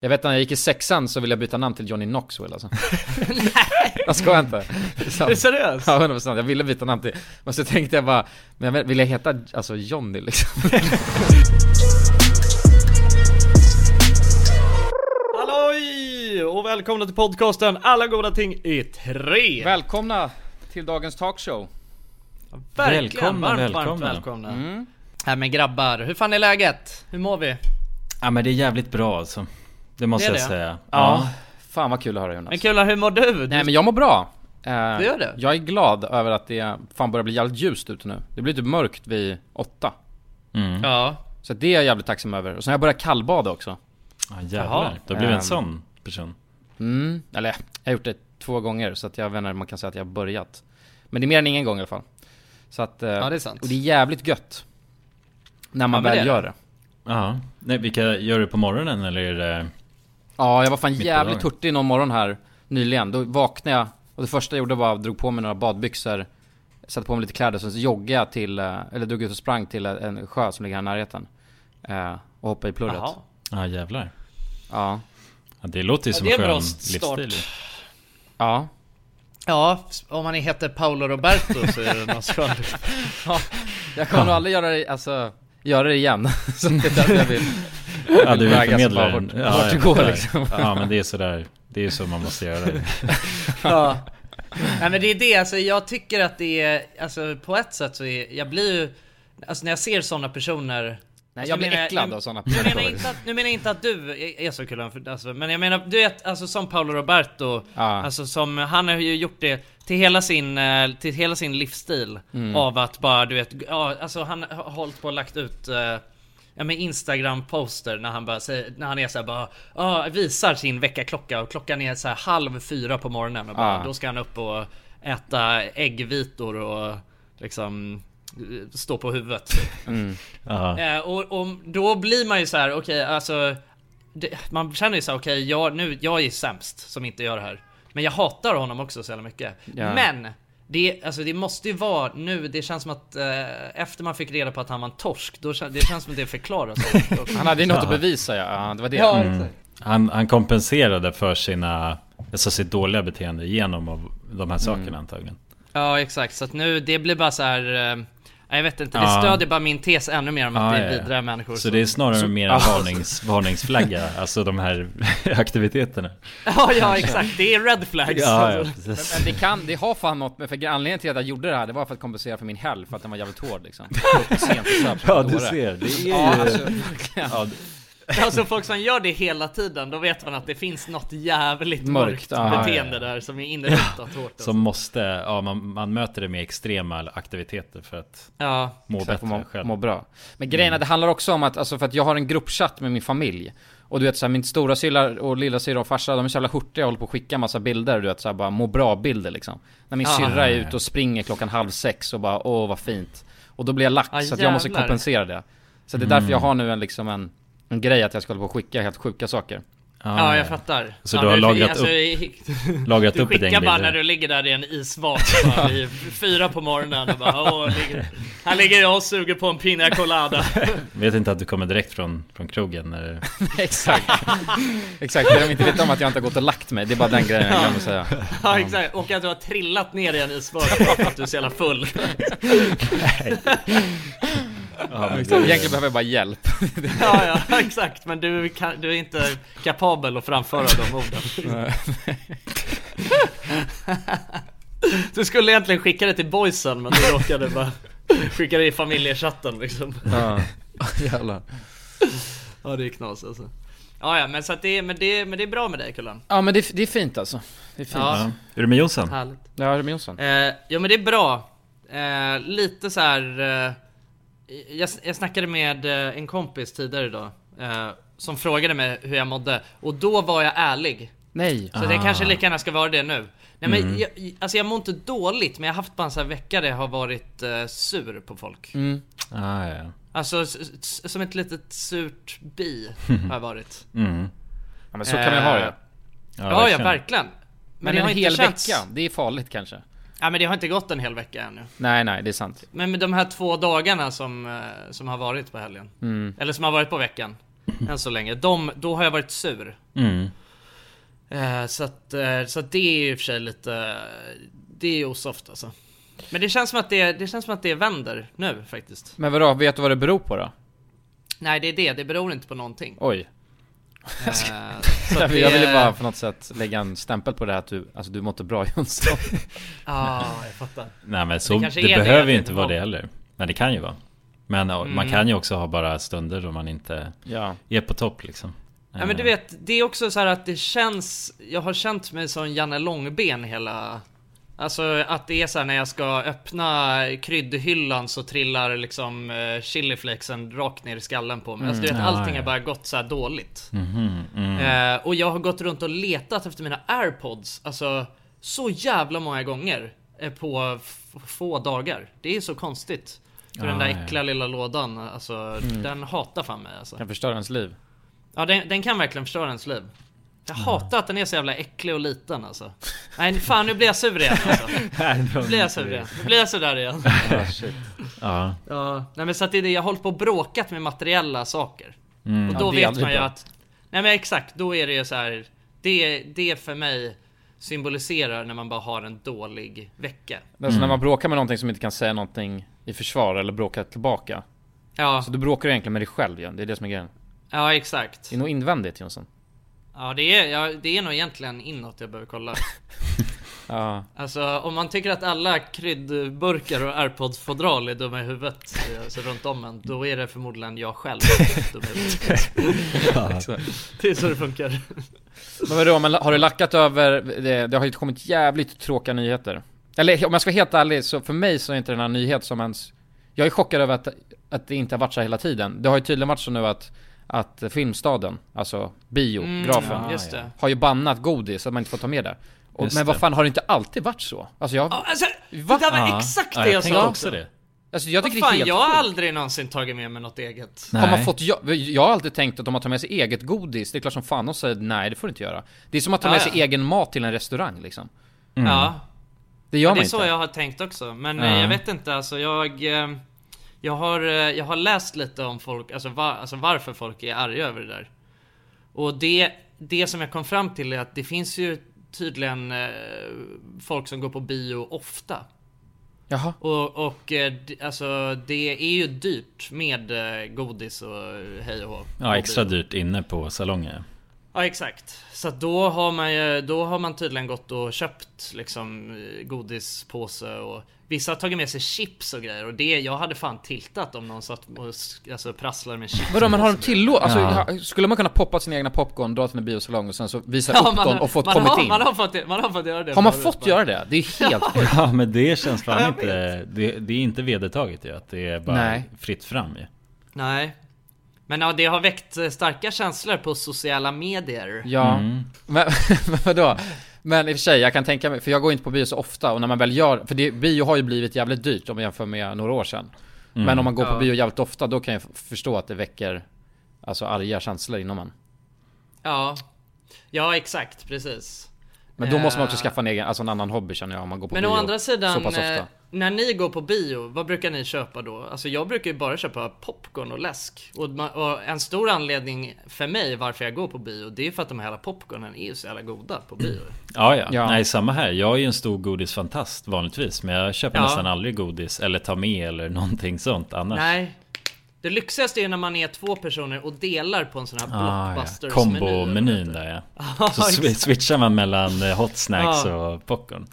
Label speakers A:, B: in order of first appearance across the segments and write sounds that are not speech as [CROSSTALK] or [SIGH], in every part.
A: Jag vet när jag gick i sexan så ville jag byta namn till Johnny Knoxville alltså. [LAUGHS] Nej! Jag skojar inte. Det är
B: Är
A: sant.
B: du seriös?
A: Ja, 100%. Jag ville byta namn till, men så tänkte jag bara, men jag vet- vill jag heta alltså Johnny liksom?
B: Halloj! Och välkomna till podcasten Alla goda ting i
A: [LAUGHS]
B: tre!
A: Välkomna till dagens talkshow.
B: Verkligen,
C: Välkomna,
B: varmt, varmt
C: välkomna.
B: välkomna. Nej men grabbar, hur fan är läget? Mm. Hur mår vi?
C: Ja men det är jävligt bra alltså. Det måste
B: Det är
C: jag
B: det?
C: säga.
A: Ja. Fan vad kul att höra Jonas.
B: Men Kula, hur mår du?
A: Nej men jag mår bra. Eh,
B: Du gör det?
A: Jag är glad över att det fan börjar bli jävligt ljust ute nu. Det blir typ mörkt vid åtta.
C: Mm.
B: Ja,
A: Så det är jag jävligt tacksam över. Och sen har jag börjat kallbada också.
C: Ja
B: Jaha.
C: jävlar. Då blev jag
A: Ehm.
C: en sån person.
A: Mm, eller jag har gjort det två gånger så att jag vet inte, man kan säga att jag har börjat. Men det är mer än ingen gång i alla fall. Så att, eh,
B: ja det är sant.
A: och det är jävligt gött. När
B: men
A: man
B: det
A: väl
B: är det.
A: gör det.
C: Ja. Nej vilka, gör du på morgonen eller är det...
A: Ja, jag var fan
C: på
A: jävligt
C: dagen.
A: hurtig någon morgon här nyligen. Då vaknade jag och det första jag gjorde var att drog på mig några badbyxor, satte på mig lite kläder, sen så joggade jag till, eh, eller drog ut och sprang till eh, en sjö som ligger här i närheten. Eh, och hoppade i plurret.
B: Jaha.
C: Ja jävlar.
A: Ja.
C: Ja, det låter ju som
B: det är en
C: skön
B: bra start.
C: livsstil.
A: Ja.
B: Ja, om man heter Paolo Roberto så är [LAUGHS] det någon skön...
A: Jag kommer nog aldrig göra det, alltså, göra det igen. [LAUGHS] så det är därför jag vill.
C: Ja du
A: Vägas
C: vill
A: bara
C: förmedla
A: vart-
C: den. Ja,
A: vart
C: jag
A: det går,
C: fattar.
A: liksom.
C: Ja men det är sådär. Det är så man måste göra. det.
B: ja. Nej men det är det, alltså jag tycker att det är, alltså på ett sätt så är, jag blir ju, alltså när jag ser sådana personer
A: Nej,
B: Alltså,
A: jag blir
B: menar-
A: äcklad
B: nu-
A: av sådana
B: Nu menar, jag
A: personer.
B: inte att, nu menar jag inte att du är är så kul, för- alltså, men jag menar, du vet, alltså som Paolo Roberto,
A: Ja.
B: alltså som, han har ju gjort det till hela sin, eh, till hela sin livsstil
A: Mm.
B: av att bara, du vet, ja, alltså han har hållit på och lagt ut eh, Ja men Instagram-poster när han bara säger, när han är såhär bara, ja visar sin väckarklocka och klockan är såhär halv fyra på morgonen och bara,
A: Ja.
B: då ska han upp och äta äggvitor och liksom eh, stå på huvudet typ.
C: Ja.
B: Eh, och, och då blir man ju så här, okej, alltså det, man känner ju så här, okej, jag, nu, jag är sämst som inte gör det här. Men jag hatar honom också så jävla mycket.
A: Ja.
B: Men! Det, alltså det måste ju vara nu, det känns som att eh, efter man fick reda på att han var en torsk, då, kän- det känns som att det
C: [LAUGHS]
B: förklaras.
A: Han hade ju något att bevisa ja, ja det Mm. var det.
C: Han, han kompenserade för sina, alltså sitt dåliga beteende genom av de här sakerna antagligen.
B: ja exakt, så att nu det blir bara så här. Eh, jag vet inte, det
C: Ja.
B: stödjer bara min tes ännu mer om att
C: Ja,
B: det är
C: ja, ja.
B: vidriga människor.
C: Så det är snarare mer en varnings, varningsflagga, alltså de här aktiviteterna.
B: [LAUGHS] ja, ja exakt, det är red flags.
C: Ja, ja,
B: Alltså.
C: precis.
A: Men det kan, det har fan något med, för anledningen till att jag gjorde det här, det var för att kompensera för min helg, för att den var jävligt hård
C: [LAUGHS]
A: liksom. Sent och söp som
C: Ja
A: en
C: du
A: dåre.
C: ser, det är ju...
A: Ja, alltså,
C: ja,
B: [LAUGHS] Alltså folk som gör det hela tiden, då vet man att det finns något jävligt
A: Mörkt,
B: mörkt,
A: ja,
B: beteende
C: Ah, ja,
B: där som är inrutat hårt alltså.
C: som måste, ja man, man möter det med extrema aktiviteter för att
B: Ja,
C: må
A: exakt,
C: bättre
A: må,
C: själv.
A: må bra. Men grejen är att det handlar också om att, alltså för att jag har en gruppchatt med min familj. Och du vet såhär, min stora sylla och lilla syra och farsa, de är så jävla hurtiga och håller på att skicka massa bilder, du vet såhär bara må bra-bilder liksom. När min
B: Ah.
A: syrra är ute och springer klockan halv sex och bara åh vad fint. Och då blir jag lack,
B: Ah,
A: så att jag måste
B: jävlar.
A: kompensera det. Så det är därför jag har nu en liksom en, en grej att jag ska hålla på och skicka helt sjuka saker.
B: ja jag fattar.
C: Så
B: ja,
C: du har lagrat upp-
B: upp,
C: Lagrat
B: Du
C: upp [LAUGHS] ett
B: skickar
C: gäng
B: bara när
C: bilder.
B: du ligger där i en isvak bara vid fyra på morgonen och bara åh, ligger, här ligger jag och suger på en pina
C: [LAUGHS]
B: colada.
C: Vet inte att du kommer direkt från, från krogen när
B: [LAUGHS]
C: det...
A: Exakt. [LAUGHS] Exakt, det de inte vet om att jag inte har gått och lagt mig. Det är bara den grejen jag glömde säga.
B: Ja exakt, och att du har trillat ner i en isvak bara för att du är så jävla
C: [LAUGHS]
B: full.
C: Ja, men
A: Egentligen behöver jag bara hjälp.
B: Ja ja, exakt, men du, kan, du är inte kapabel att framföra de orden.
A: [LAUGHS]
B: Du skulle egentligen skicka det till boysen men du råkade bara [LAUGHS] skicka det i familjechatten liksom.
A: Ja. Jävlar.
B: Ja det är knas alltså. Ja, ja men så att det, är- men det, men det är bra med dig Kullan.
A: Ja men det, det är fint alltså. Det är fint.
B: Ja.
A: Ja,
C: ja. Är du med Jonsson?
B: Härligt.
A: Remi Jonsson.
B: Eh, jo men det är bra. Eh, lite så här. Eh, jag, jag snackade med eh, en kompis tidigare idag. Eh, som frågade mig hur jag mådde. Och då var jag ärlig.
A: Nej.
B: Så det kanske lika gärna ska vara det nu. Nej men jag, alltså jag mår inte dåligt men jag har haft bara en sån här vecka där jag har varit eh, sur på folk.
A: Mm.
C: Ah, ja.
B: Alltså s- s- som ett litet surt bi har jag varit.
C: Mm.
A: Ja, Eh, men så kan man ha det.
B: Ja, ja,
C: verkligen.
B: verkligen. Men,
A: Men
B: det
A: en
B: har
A: hel
B: inte känts...
A: vecka, det är farligt kanske.
B: Ja men det har inte gått en hel vecka ännu.
A: Nej nej, det är sant. Mm. [CLEARS THROAT]
B: Men med de här två dagarna som, eh, som har varit på helgen. Eller som har varit på veckan. Än så länge. De, då har jag varit sur.
C: Mm.
B: Eh, Så att, eh, så att det är i och för sig lite... Det är osoft alltså. Men det känns som att det, det, känns som att det vänder nu faktiskt.
A: Men vadå, vet du vad det beror på då?
B: Nej det är det, det beror inte på någonting.
A: Oj.
B: Eh, så
A: [LAUGHS] Jag
B: att det-
A: ville bara på något sätt lägga en stämpel på det här att du, alltså du mådde bra [LAUGHS] Jonsson.
B: Ja, ah, jag fattar.
C: Nej men så,
B: Det
C: det,
B: kanske är det, jag
C: behöver ju
B: vet inte
C: inte vara
B: vad. Mm.
C: det heller. Men det kan ju vara. Men ja, man kan ju också ha bara stunder då man inte
A: ja.
C: är på topp liksom.
B: Ja, men du vet, det är också så här att det känns... Jag har känt mig som Janne Långben hela... Alltså att det är så här när jag ska öppna kryddhyllan så trillar liksom eh, chiliflexen rakt ner i skallen på mig. Alltså du vet,
C: ja,
B: allting
C: Mm. ja.
B: har bara gått så här dåligt.
C: Mhm,
B: [LAUGHS]
C: mm.
B: Eh, och jag har gått runt och letat efter mina airpods, alltså så jävla många gånger eh, på f- få dagar. Det är så konstigt. För den där
C: Ah, ja. Mm.
B: äckliga lilla lådan, alltså den hatar fan mig alltså.
A: Kan förstöra ens liv.
B: Ja den, den kan verkligen förstöra ens liv. Jag
A: Mm.
B: hatar att den är så jävla äcklig och liten alltså. Nej fan nu blir jag sur igen alltså. Nu blir jag sur igen. Nu blir jag
A: [LAUGHS]
B: sådär igen. [LAUGHS]
C: Ja.
B: Ja, nej men så att det är det, jag har hållit på och bråkat med materiella saker.
C: Mm.
B: Och
A: Ja,
B: då
A: det är
B: vet
A: aldrig
B: man ju
A: bra.
B: att... Nej men exakt, då är det ju så här. Det, det för mig symboliserar när man bara har en dålig vecka.
A: Alltså när man bråkar med någonting som inte kan säga någonting i försvar eller bråkar tillbaka.
B: Ja,
A: Så du bråkar egentligen med dig själv igen. det är det som är grejen.
B: ja exakt.
A: Det är nog invändigt Jonsson.
B: Ja det, är, ja det är nog egentligen inåt jag behöver kolla.
A: Ja.
B: Alltså om man tycker att alla kryddburkar och airpods-fodral är dumma i huvudet, eh, alltså runt om en, då är det förmodligen jag själv som är dum i
C: [LAUGHS]
B: huvudet. Det är så det funkar.
A: Men vadå, men har du lackat över, det, det har ju kommit jävligt tråkiga nyheter. Eller om jag ska vara helt ärlig, så för mig så är inte den här nyhet som ens... Jag är chockad över att, att det inte har varit så här hela tiden. Det har ju tydligen varit så nu att, att Filmstaden, alltså biografen,
C: ja.
B: Just det.
A: har ju bannat godis så att man inte får ta med det. Och,
C: Just
A: men vad
C: det.
A: fan, har det inte alltid varit så? Alltså jag,
B: Ja, Alltså, det
A: Va?
B: där var
C: Ja.
B: exakt
C: Ja,
B: det jag
C: tänkte
B: sa
C: också
B: också.
C: det.
A: alltså jag
B: Vad
A: tycker det är
B: fan,
A: helt
B: jag har
A: sjukt.
B: aldrig någonsin tagit med mig något eget.
A: Har man
C: Nej.
A: fått, jag, jag har alltid tänkt att om man tar med sig eget godis, det är klart som fan de säger nej det får du inte göra. Det är som att ta
B: Ja,
A: med
B: ja.
A: sig egen mat till en restaurang liksom.
C: Mm.
B: Ja,
A: Det gör
B: det
A: man
B: är så
A: inte.
B: jag har tänkt också. Men
C: Ja.
B: eh, jag vet inte, alltså jag... eh, Jag har, eh, jag har läst lite om folk, alltså, va, alltså varför folk är arga över det där. Och det, det som jag kom fram till är att det finns ju tydligen eh, folk som går på bio ofta.
A: Jaha.
B: Och, och eh, d- alltså det är ju dyrt med eh, godis och hej och hå. på
C: Ja, extra
B: bio.
C: dyrt inne på salongen.
B: Ja exakt. Så att då har man ju, då har man tydligen gått och köpt liksom eh, godispåse och vissa har tagit med sig chips och grejer och det, jag hade fan tiltat om någon satt och sk- alltså, prasslade med chips.
A: Vadå men har de tillåt, alltså,
C: Ja.
A: ha- skulle man kunna poppa sin egna popcorn, dra till en biosalong och sen så visa
B: [LAUGHS] Ja,
A: upp dem och fått
B: man,
A: kommit
B: har,
A: in?
B: man, har fått, man har fått göra det.
A: har man
B: förut,
A: fått
B: bara.
A: göra det? Det är helt
B: [LAUGHS]
A: sjukt.
C: [LAUGHS] Ja men det känns fan
B: Ja, jag
C: inte, det, det är inte vedertaget ju att det är bara
A: Nej.
C: fritt fram ju.
B: Nej. Men ja, det har väckt eh, starka känslor på sociala medier.
A: Ja.
C: Mm.
A: Men, [LAUGHS] men vadå? Men i och för sig, jag kan tänka mig, för jag går inte på bio så ofta och när man väl gör, för det, bio har ju blivit jävligt dyrt om man jämför med några år sedan. Men om man går på
B: Ja.
A: bio jävligt ofta, då kan jag f- förstå att det väcker Alltså arga känslor inom en.
B: Ja. Ja, exakt, precis.
A: Men då måste man också
B: Eh,
A: skaffa en egen, alltså en annan hobby känner jag om man går på
B: Men
A: bio
B: å andra
A: så
B: sidan,
A: pass
B: eh,
A: ofta.
B: när ni går på bio, vad brukar ni köpa då? Alltså jag brukar ju bara köpa popcorn och läsk. Och, ma- och en stor anledning för mig varför jag går på bio, det är ju för att de här jävla popcornen är ju så jävla goda på bio.
A: Mm.
C: Ja, ja
A: Ja.
C: nej samma här. Jag är ju en stor godisfantast vanligtvis men jag köper
B: Ja.
C: nästan aldrig godis eller tar med eller [LAUGHS] någonting sånt annars.
B: Nej. Det lyxigaste är ju när man är två personer och delar på en sån här
C: Ah, ja.
B: blockbusters
C: Kombo-menyn där [LAUGHS] ja. Så swi- switchar man mellan eh, hot snacks
B: Ja.
C: och popcorn.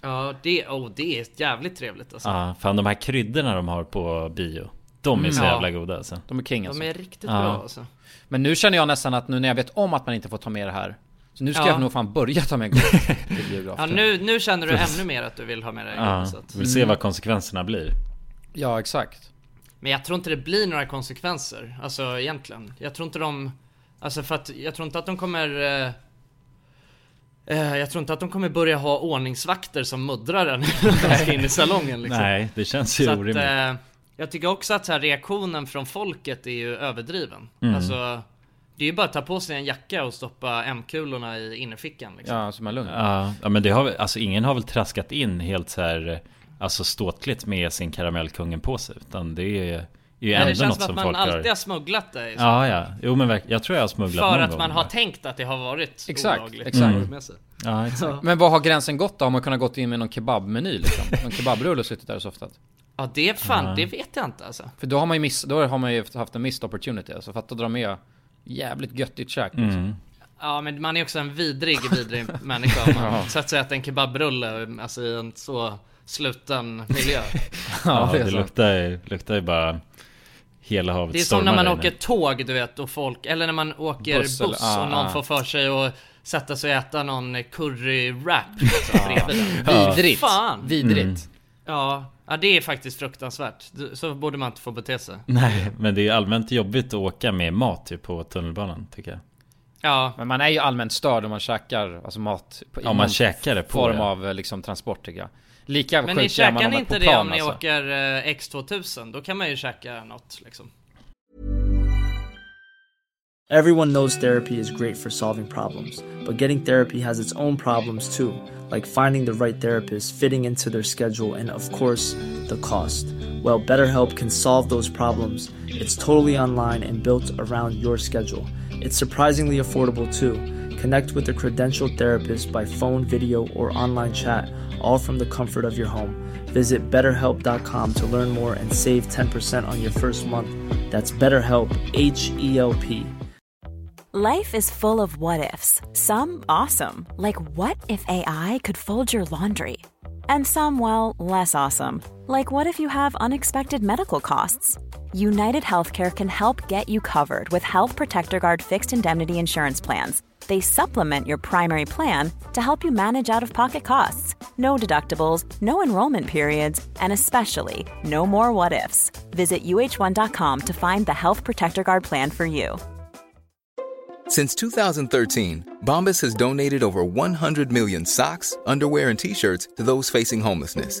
B: Ja, det, oh, det är jävligt trevligt
A: Ah,
B: alltså.
C: Ja, fan de här kryddorna de har på bio. De är så
B: Ja.
C: jävla goda alltså.
A: De är king alltså.
B: De är riktigt
C: Ja.
B: bra alltså.
A: Men nu känner jag nästan att nu när jag vet om att man inte får ta med det här Så nu ska
B: Ja.
A: jag nog fan börja ta med
D: [LAUGHS]
A: godis till
B: Ja,
A: biografen
B: nu, nu känner du ännu mer att du vill ha med dig
A: Ah.
C: Ja, Mm.
B: godiset.
C: vill se vad konsekvenserna blir.
A: Ja exakt
B: Men jag tror inte det blir några konsekvenser, alltså egentligen. Jag tror inte de... Alltså för att jag tror inte att de kommer... Eh, eh, jag tror inte att de kommer börja ha ordningsvakter som muddrar en [LAUGHS] när de ska in i salongen liksom.
C: Nej, det känns ju
B: Så att,
C: orimligt.
B: eh, jag tycker också att så här, reaktionen från folket är ju överdriven.
D: Mm.
B: Alltså, det är ju bara att ta på sig en jacka och stoppa M-kulorna i innerfickan liksom.
A: Ja, som är lugn
C: Ja, ja, men det har väl- alltså ingen har väl traskat in helt så här Alltså ståtligt med sin karamellkungen på sig utan det är
D: är ju
B: Men det
D: ändå
B: känns
D: något
B: som att
D: som
B: man
D: folk
B: alltid har
D: har...
B: smugglat det. i så
D: Ja, ja. Jo men verk- jag tror jag har smugglat
B: För
D: någon
B: att
D: gång. Mm.
B: man har tänkt att det har varit
A: Exakt,
B: olagligt.
A: exakt.
B: lagmässigt.
D: Ja, exakt.
A: Men vad har gränsen gått då? Har man kunnat gått in med någon kebabmeny liksom? Någon kebabrulle och suttit där och softat?
B: Ja det är fan, det vet jag inte alltså.
A: För då har man ju miss, då har man ju haft en missed opportunity alltså, för att dra med jävligt göttigt käk
D: Mm.
A: liksom.
B: Ja men man är också en vidrig, vidrig [LAUGHS] människa. om Man så att säga att en kebabrulle alltså, i en så sluten miljö.
A: [LAUGHS]
D: Ja,
A: det är
D: det
A: så.
D: luktar ju, luktar ju bara hela havet
B: Det är som
D: stormar
B: när man
D: där inne.
B: åker tåg du vet och folk, eller när man åker
A: Buss
B: buss,
A: eller- ah,
B: och någon
A: ah.
B: får för sig att sätta sig och äta någon curry-wrap liksom, bredvid den.
A: Vidrigt!
B: Fan.
A: Vidrigt!
D: Mm.
B: Ja, ja, det är faktiskt fruktansvärt. Så borde man inte få bete sig.
D: Nej, men det är ju allmänt jobbigt att åka med mat ju på tunnelbanan tycker jag.
B: Ja,
A: Men man är ju allmänt störd om man käkar alltså mat på, i
D: Om man
A: någon
D: käkar det på
A: form
D: ja.
A: av eh, liksom, transport tycker jag. Lika
B: Men ni
A: sjukt är man
B: käkar
A: om man
B: ni
A: är på
B: inte
A: plan
B: det om ni
A: alltså.
B: åker eh, X2000? Då kan man ju käka något liksom.
E: Everyone knows therapy is great for solving problems, but getting therapy has its own problems too, like finding the right therapist, fitting into their schedule, and of course, the cost. Well, BetterHelp can solve those problems. It's totally online and built around your schedule. It's surprisingly affordable too. Connect with a credentialed therapist by phone, video, or online chat, all from the comfort of your home. Visit betterhelp.com to learn more and save 10% on your first month. That's BetterHelp, H E L P.
F: Life is full of what ifs. Some awesome, like what if AI could fold your laundry? And some, well, less awesome, like what if you have unexpected medical costs? United Healthcare can help get you covered with Health Protector Guard fixed indemnity insurance plans. They supplement your primary plan to help you manage out of pocket costs. No deductibles, no enrollment periods, and especially no more what ifs. Visit uh1.com to find the Health Protector Guard plan for you.
G: Since 2013, Bombas has donated over 100 million socks, underwear, and t shirts to those facing homelessness.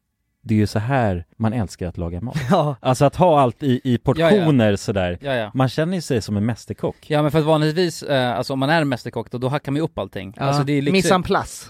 C: det är ju så här man älskar att
H: [LAUGHS]
C: laga mat.
I: Ja,
C: Alltså att ha allt i, i portioner sådär.
H: Ja, ja.
C: Man känner ju sig som en mästerkock.
H: Ja men för att vanligtvis, eh, alltså om man är en mästerkock då, då hackar man ju upp allting.
I: ja.
H: Alltså det är
I: Miss en
H: liksom,
I: place.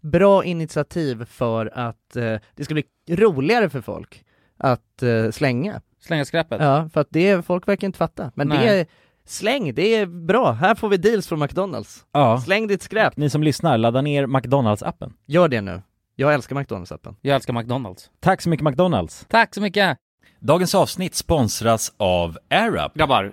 I: bra initiativ för att eh, det ska bli roligare för folk att eh, slänga.
J: Slänga skräpet.
I: Ja, för att det, folk verkar inte fatta. Men det
J: Nej.
I: är, släng, det är bra. Här får vi deals från McDonalds.
K: Ja.
I: Släng ditt skräp.
K: Ni som lyssnar, ladda ner McDonalds-appen.
I: Gör det nu. Jag älskar McDonalds-appen.
J: Jag älskar McDonalds.
K: Tack så mycket McDonalds!
J: Tack så mycket!
C: Dagens avsnitt sponsras av AirUp.
A: Grabbar,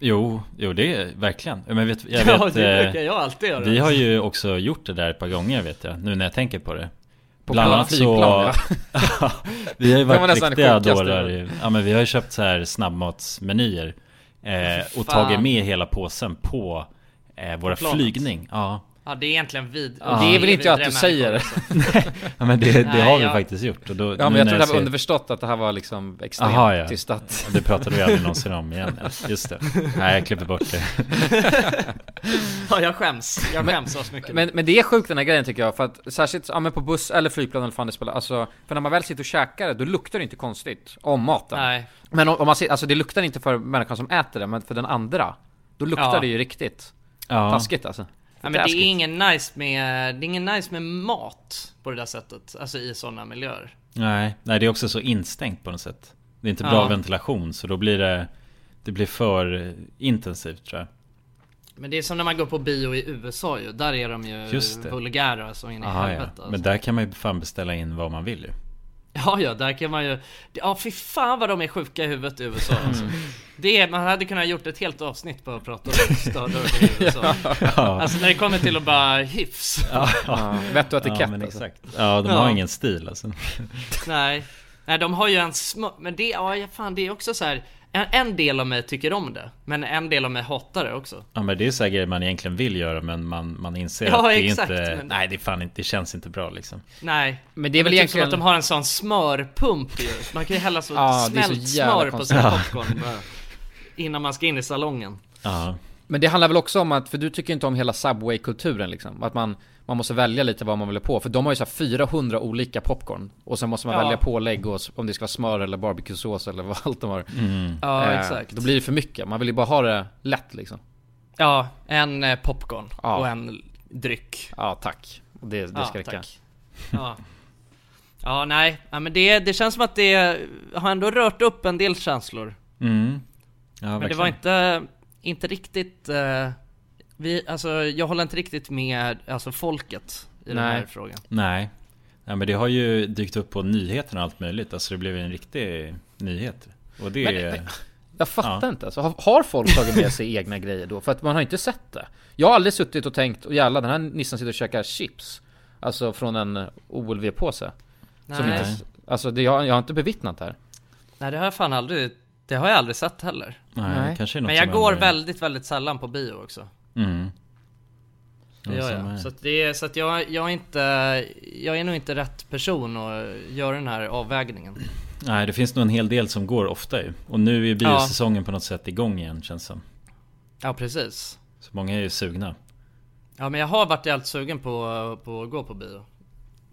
C: Jo, jo det är verkligen. Men vet, [LAUGHS]
B: [LAUGHS]
C: jag
B: Ja,
C: vet,
B: det
C: eh,
B: brukar jag alltid göra.
C: vi har ju också gjort det där ett par gånger vet jag, nu när jag tänker på det.
A: På
C: Bland
A: plan-
C: annat så... [LAUGHS]
A: flygplan,
C: vi har
A: Det
C: ju
A: var
C: varit
A: nästan
C: riktiga
A: det sjukaste.
C: dårar i- Ja men vi har ju köpt så här snabbmatsmenyer. Eh, och
A: fan.
C: tagit med hela påsen på eh, våra
B: planet.
C: flygning. Ja.
B: Ja, det är egentligen vid...
A: Ja. Det vill inte jag att du säger.
C: ja men det, det
B: Nej,
C: har vi
B: jag-
C: faktiskt gjort. Och då,
A: Ja,
C: nu
A: men jag
C: när
A: tror det här var
C: ser-
A: underförstått att det här var liksom extremt
C: Aha, ja.
A: tystat.
C: [LAUGHS] Det pratade vi aldrig någonsin om igen. Just det. Nej jag klipper bort det.
B: Ja, jag skäms. Jag skäms så mycket.
A: Men, men det är sjukt den här grejen tycker jag, för att särskilt ja, men på buss eller flygplan eller fan det spelar, alltså, för när man väl sitter och käkar det, då luktar det inte konstigt om maten.
B: Nej.
A: Men om, om man ser, alltså det luktar inte för människan som äter det, men för den andra, då luktar
B: Ja.
A: det ju riktigt
C: Ja.
A: taskigt alltså.
B: Ja, men det
A: Taskigt.
B: är ingen nice med, det är ingen nice med mat på det där sättet, alltså i sådana miljöer.
C: Nej, nej det är också så instängt på något sätt. Det är inte bra
B: Ja.
C: ventilation så då blir det Det blir för intensivt tror jag.
B: Men det är som när man går på bio i USA ju, där är de ju
C: Just det.
B: vulgära så in i
C: Aha, ja.
B: helvete. Alltså.
C: Men där kan man ju fan beställa in vad man vill ju.
B: Ja, ja, där kan man ju... Ja, fy fan vad de är sjuka i huvudet i USA
C: Mm.
B: alltså. Det är, man hade kunnat gjort ett helt avsnitt på att prata om störda i USA. Alltså när det kommer till att bara hyfs.
A: Ja, vett och etikett
C: ja, men
A: alltså.
C: exakt. Ja, de har
B: Ja.
C: ingen stil alltså.
B: Nej. Nej, de har ju en smör... Men det, ja, ja, fan det är också så här. En, en del av mig tycker om det, men en del av mig hatar det också.
C: Ja, men det är så här grejer man egentligen vill göra men man, man inser
B: Ja,
C: att det
B: exakt,
C: är inte...
B: men-
C: Nej, det är fan inte, det känns inte bra liksom.
B: Nej.
A: Men det är väl
B: typ
A: egentligen-
B: som att de har en sån smörpump ju. Man kan ju hälla
A: [LAUGHS]
B: så
A: Ja, det är så
B: smält
A: jävla
B: smör på
A: konstigt.
B: sin popcorn bara, Innan man ska in i salongen.
C: Ja.
A: Men det handlar väl också om att, för du tycker inte om hela Subway-kulturen liksom? Att man, man måste välja lite vad man vill ha på, för de har ju så här 400 olika popcorn. Och sen måste man
B: Ja.
A: välja pålägg och s- om det ska vara smör eller barbecuesås eller vad [LAUGHS] allt de har.
B: Mm. Ja,
A: Eh,
B: exakt.
A: Då blir det för mycket, man vill ju bara ha det lätt liksom.
B: Ja, en eh, popcorn
A: Ja.
B: och en dryck.
A: Ja, tack. Det, det
B: Ja,
A: ska räcka.
B: tack. Ja. Ja, nej. Ja, men det, det känns som att det har ändå rört upp en del känslor.
C: Mm. Ja,
B: Men det var inte, inte riktigt... eh, vi, alltså, jag håller inte riktigt med alltså, folket i den
A: Nej.
B: här frågan.
C: Nej. Ja, men det har ju dykt upp på nyheterna och allt möjligt. Alltså det blev ju en riktig nyhet. Och det är...
A: Men, jag fattar inte alltså. Har- Har folk tagit med sig [LAUGHS] egna grejer då? För att man har inte sett det. Jag har aldrig suttit och tänkt och jävlar den här Nissan sitter och käkar chips. Alltså från en OLV-påse. Som
B: Nej.
A: inte, alltså det, jag, jag har inte bevittnat det här.
B: Nej det har jag fan aldrig, det har jag aldrig sett heller.
A: Nej, det Nej. kanske är något
B: Men
A: som
B: jag går
A: händer.
B: väldigt, väldigt sällan på bio också.
C: Mm.
B: Det gör jag. Så, att det är, så att jag, jag, är inte, jag är nog inte rätt person att göra den här avvägningen.
C: Nej, det finns nog en hel del som går ofta ju. Och nu är biosäsongen på något sätt igång igen känns som.
B: Ja precis.
C: Så många är ju sugna.
B: Ja men jag har varit jävligt sugen på, på att gå på bio.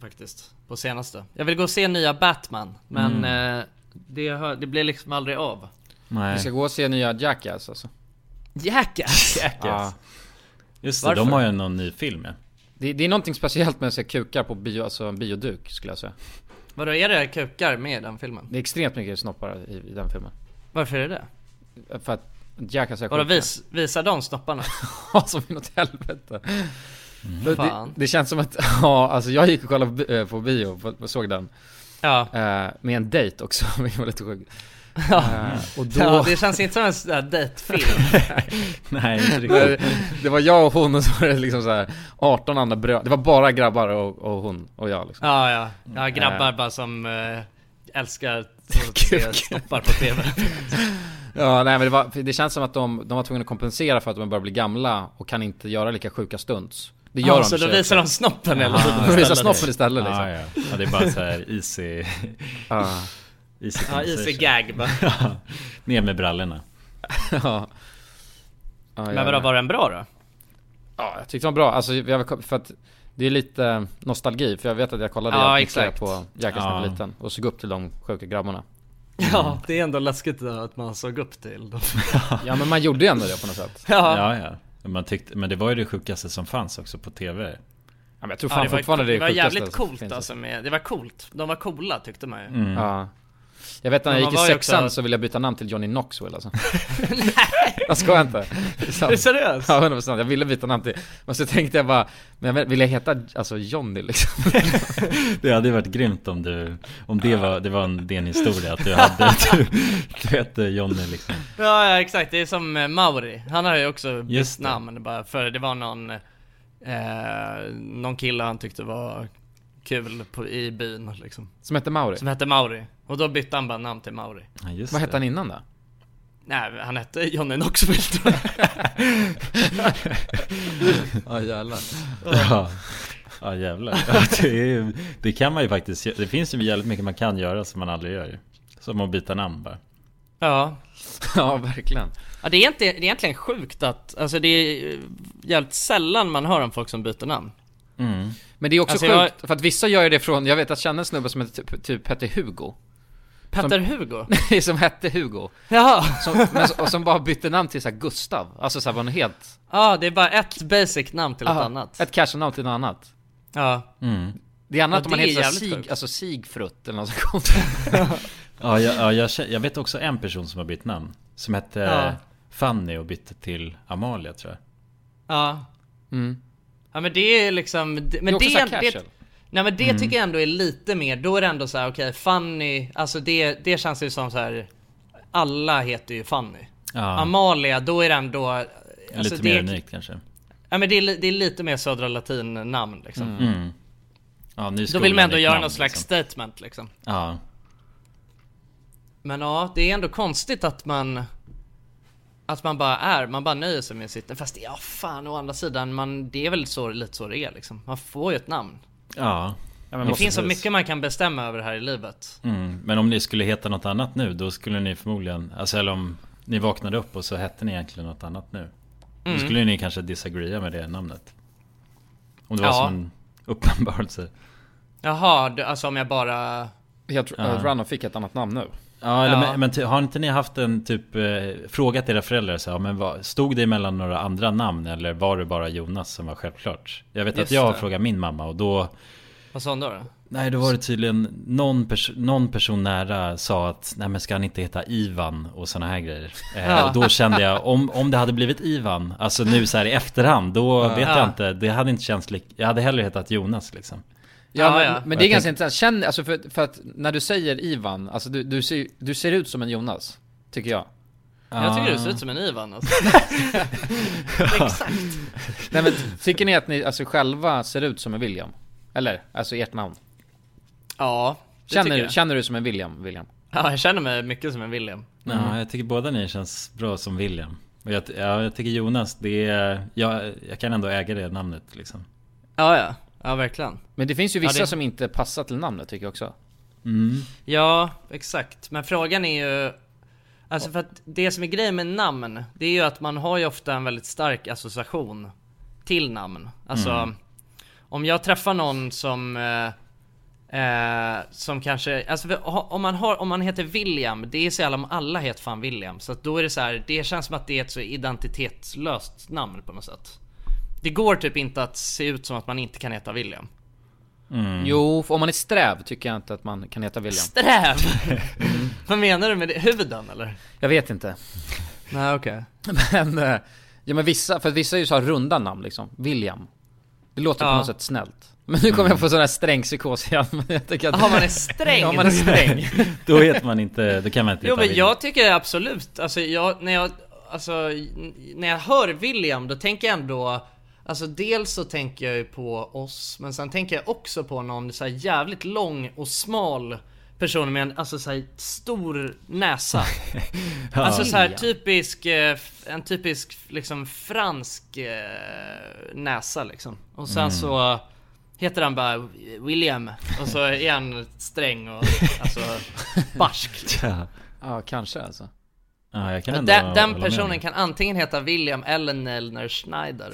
B: Faktiskt. På senaste. Jag vill gå och se nya Batman. Men
A: Mm.
B: eh, det, har- det blir liksom aldrig av.
A: Vi ska gå och se nya Jackass alltså.
B: [LAUGHS] Jackass!
C: Jackass. Just det, de har ju någon ny film
B: [LAUGHS]
C: ja.
A: Det, det är någonting speciellt med att se kukar på bio, alltså en bioduk skulle jag säga.
B: Vadå är det kukar med i den filmen?
A: Det är extremt mycket snoppar i, i den filmen.
B: Varför är det
A: För att Jackass är
B: det? Vadå
A: sjuka. [LAUGHS]
B: vis, visar de snopparna?
A: Ja, som inåt helvete. Det, det,
B: Mm. Fan.
A: det känns som att, [LAUGHS] ja alltså jag gick och kollade på, bi- eh, på bio, på, på, såg den.
B: Ja.
A: Eh, med en dejt också, [LAUGHS] vilket var lite sjukt.
B: Ja.
A: Eh, och då...
B: ja, det känns inte som en sån där dejtfilm.
C: Nej, [LAUGHS] inte riktigt.
A: det, det var jag och hon och så var det liksom så här 18 andra bröder, det var bara grabbar och, och hon och jag liksom.
B: Ja, ja. ja grabbar
A: Eh,
B: bara som eh, älskar [LAUGHS] att se snoppar på TV.
A: Ja, nej men det, var, det känns som att de, de var tvungna att kompensera för att de börjar bli gamla och kan inte göra lika sjuka stunts. Det gör
B: Ja,
A: de
B: så
A: i och för
B: då
A: sig
B: visar
A: också.
B: de snoppen hela
A: Ja,
B: tiden
A: [LAUGHS] De visar
B: istället.
A: snoppen istället liksom.
C: Ja, ja. ja, det är bara så här easy... [LAUGHS]
B: [LAUGHS]
A: Ja.
C: easy
B: Ja, easy
C: conversation.
B: gag bara.
C: Ja, Ner med brallorna.
A: ja.
B: Men vadå, var den bra då?
A: Ja, jag tyckte den var bra. Alltså, jag, för att det är lite nostalgi, för jag vet att jag kollade
B: Ja,
A: jävligt mycket
B: exakt.
A: på Jackass när jag var
B: Ja.
A: liten och såg upp till de sjuka grabbarna.
B: Ja, det är ändå läskigt att man såg upp till [LAUGHS] dem.
A: Ja, men man gjorde ju ändå det på något sätt.
B: Ja.
C: Ja, ja. Man tyckte, men det var ju det sjukaste som fanns också på TV. Ja,
A: men jag
B: Ja, var- det var jävligt coolt alltså med, det var coolt. De var coola tyckte man ju.
C: Mm.
A: Ja. Jag vet när
B: Men
A: jag
B: man
A: gick i
B: var ju
A: sexan
B: också-
A: så ville jag byta namn till Johnny Knoxville
B: [LAUGHS]
A: alltså. Jag skojar inte. Det sant.
B: Är du seriös?
A: Ja, 100%. Jag ville byta namn till... Men så tänkte jag bara, men jag vill jag heta alltså Johnny liksom? [LAUGHS]
C: Det hade ju varit grymt om du, om det var, det var en, din historia att du hade, [LAUGHS] du, du hette Johnny liksom.
B: Ja, ja exakt, det är som eh, Mauri. Han har ju också bytt
C: Just det.
B: namn bara för det var någon, eh, någon kille han tyckte var kul på, i byn liksom.
A: Som hette Mauri?
B: Som hette Mauri. Och då bytte han bara namn till Mauri.
C: Ja, just
A: Vad hette
C: det.
A: han innan då? [LAUGHS]
B: Nej, han hette Johnny Knoxville tror
A: [LAUGHS]
B: jag.
A: Ja jävlar.
C: Ja, ja jävlar. Ja, Det, är, ju- det kan man ju faktiskt, gö- det finns ju jävligt mycket man kan göra som man aldrig gör ju. Som att byta namn bara.
B: ja.
A: Ja, verkligen.
B: Ja, det, är inte, det är egentligen sjukt att, alltså det är eh, jävligt sällan man hör om folk som byter namn.
C: Mm.
A: Men det är också
B: Alltså, jag-
A: sjukt, för att vissa gör ju det från, jag vet att känna en snubbe som heter typ, typ Petter Hugo. [LAUGHS]
B: Petter Hugo?
A: Nej, som hette Hugo.
B: Jaha!
A: Som, men, och som bara bytte namn till så här Gustav. Alltså såhär var en helt...
B: Ja, det är bara ett basic namn till ett
A: Aha,
B: annat.
A: Ett cashnamn till något annat.
B: Ja.
A: Det är annat
B: Ja,
A: om man
B: det är
A: heter såhär
B: jävligt
A: Sig,
B: sjukt.
A: alltså Sigfrutt eller något sånt [LAUGHS] konstigt.
C: Ja, jag, ja jag, kä- jag vet också en person som har bytt namn. Som hette
B: Ja.
C: Fanny och bytte till Amalia tror jag.
B: Ja. Ja men det är liksom, det- men
A: är också
B: det,
A: så här
B: det,
A: casual.
B: Nej men det tycker jag ändå är lite mer, då är det ändå så här: okej Fanny, alltså det, det känns ju som så här. alla heter ju Fanny.
C: Ja.
B: Amalia, då är det ändå... Alltså
C: Lite
B: det,
C: mer unikt kanske.
B: Ja men det är, li- det är lite mer södra latin namn liksom.
C: Mm. Ja, ny
B: Då
C: skola,
B: vill man ändå
C: nytt
B: göra
C: namn,
B: något slags
C: liksom.
B: statement liksom.
C: Ja.
B: Men ja, det är ändå konstigt att man... Att man bara är, man bara nöjer sig med sitt... Fast ja, fan å andra sidan, man, det är väl så, lite så det är liksom. Man får ju ett namn.
C: Ja.
A: Ja,
B: det finns så mycket man kan bestämma över här i livet.
C: Mm. Men om ni skulle heta något annat nu, då skulle ni förmodligen... Alltså eller om ni vaknade upp och så hette ni egentligen något annat nu.
B: Mm.
C: Då skulle ni kanske disagreea med det namnet. Om det var
B: Ja.
C: som en uppenbarelse.
B: Jaha, du, alltså om jag bara...
A: Jag tror
C: Ja.
A: att Runner fick ett annat namn nu.
C: Ja, eller,
B: Ja.
C: Men, men ty- har inte ni haft en typ eh, frågat era föräldrar så här, men vad, stod det mellan några andra namn eller var det bara Jonas som var självklart? Jag vet
B: Just
C: att jag har
B: det.
C: frågat min mamma och då
B: Vad sa hon då? då?
C: Nej, då var det tydligen någon, pers- någon person nära sa att nej men ska han inte heta Ivan och sådana här grejer. Eh,
B: Ja.
C: och då kände jag, om, om det hade blivit Ivan, alltså nu så här i efterhand, då vet
B: Ja.
C: jag inte, det hade inte känts lik, jag hade hellre hetat Jonas liksom.
A: Ja, men,
B: ja.
A: men det är ganska intressant. Känn, alltså för, för att när du säger Ivan, alltså du, du, ser, du ser ut som en Jonas, tycker jag.
B: Jag tycker du
A: Ah.
B: ser ut som en Ivan alltså. Exakt.
A: Nej men tycker ni att ni alltså själva ser ut som en William? Eller? Alltså ert namn?
B: Ja, det
A: Känner,
B: tycker
A: du-
B: jag.
A: känner du som en William, William?
B: Ja, jag känner mig mycket som en William.
C: Ja, jag tycker båda ni känns bra som William. Och jag, ja, jag tycker Jonas, det är, jag, jag kan ändå äga det namnet liksom.
B: Ja, ja. Ja, verkligen.
A: Men det finns ju vissa
B: Ja, det-
A: som inte passar till namnet tycker jag också.
B: Ja, exakt. Men frågan är ju... Alltså för att det som är grejen med namn, det är ju att man har ju ofta en väldigt stark association till namn. Alltså, om jag träffar någon som... Eh, eh, som kanske... Alltså för- ha- om man, har, om man heter William, det är så jävla... Alla heter fan William. Så att då är det så här, det känns som att det är ett så identitetslöst namn på något sätt. Det går typ inte att se ut som att man inte kan heta William.
A: Jo, för om man är sträv tycker jag inte att man kan heta William.
B: Sträv! Vad menar du med det? Huvuden eller?
A: Jag vet inte.
B: Nej okej.
A: Men, eh, ja men vissa, för vissa är ju så här runda namn liksom. William. Det låter på
B: Ja.
A: något sätt snällt. Men nu kommer jag få sån här sträng psykos igen. [LAUGHS] Men jag tycker att...
B: Jaha, man är [LAUGHS] sträng.
A: Ja, man är sträng.
C: Då heter man inte, då kan man inte
B: Jo
C: heta
B: men
C: William.
B: jag tycker absolut, alltså jag, när jag, alltså n- när jag hör William då tänker jag ändå Alltså dels så tänker jag ju på oss, men sen tänker jag också på någon så här jävligt lång och smal person med en alltså så här stor näsa. Alltså så här typisk, eh, f- en typisk liksom fransk eh, näsa liksom. Och sen så heter han bara William och så är han sträng och alltså barsk.
C: Ja,
A: Ja, kanske alltså.
C: [LAUGHS] ja, jag kan ändå
B: Den,
C: hålla
B: den
C: med
B: personen
C: dig.
B: kan antingen heta William eller Nelner
C: [LAUGHS]
B: Schneider.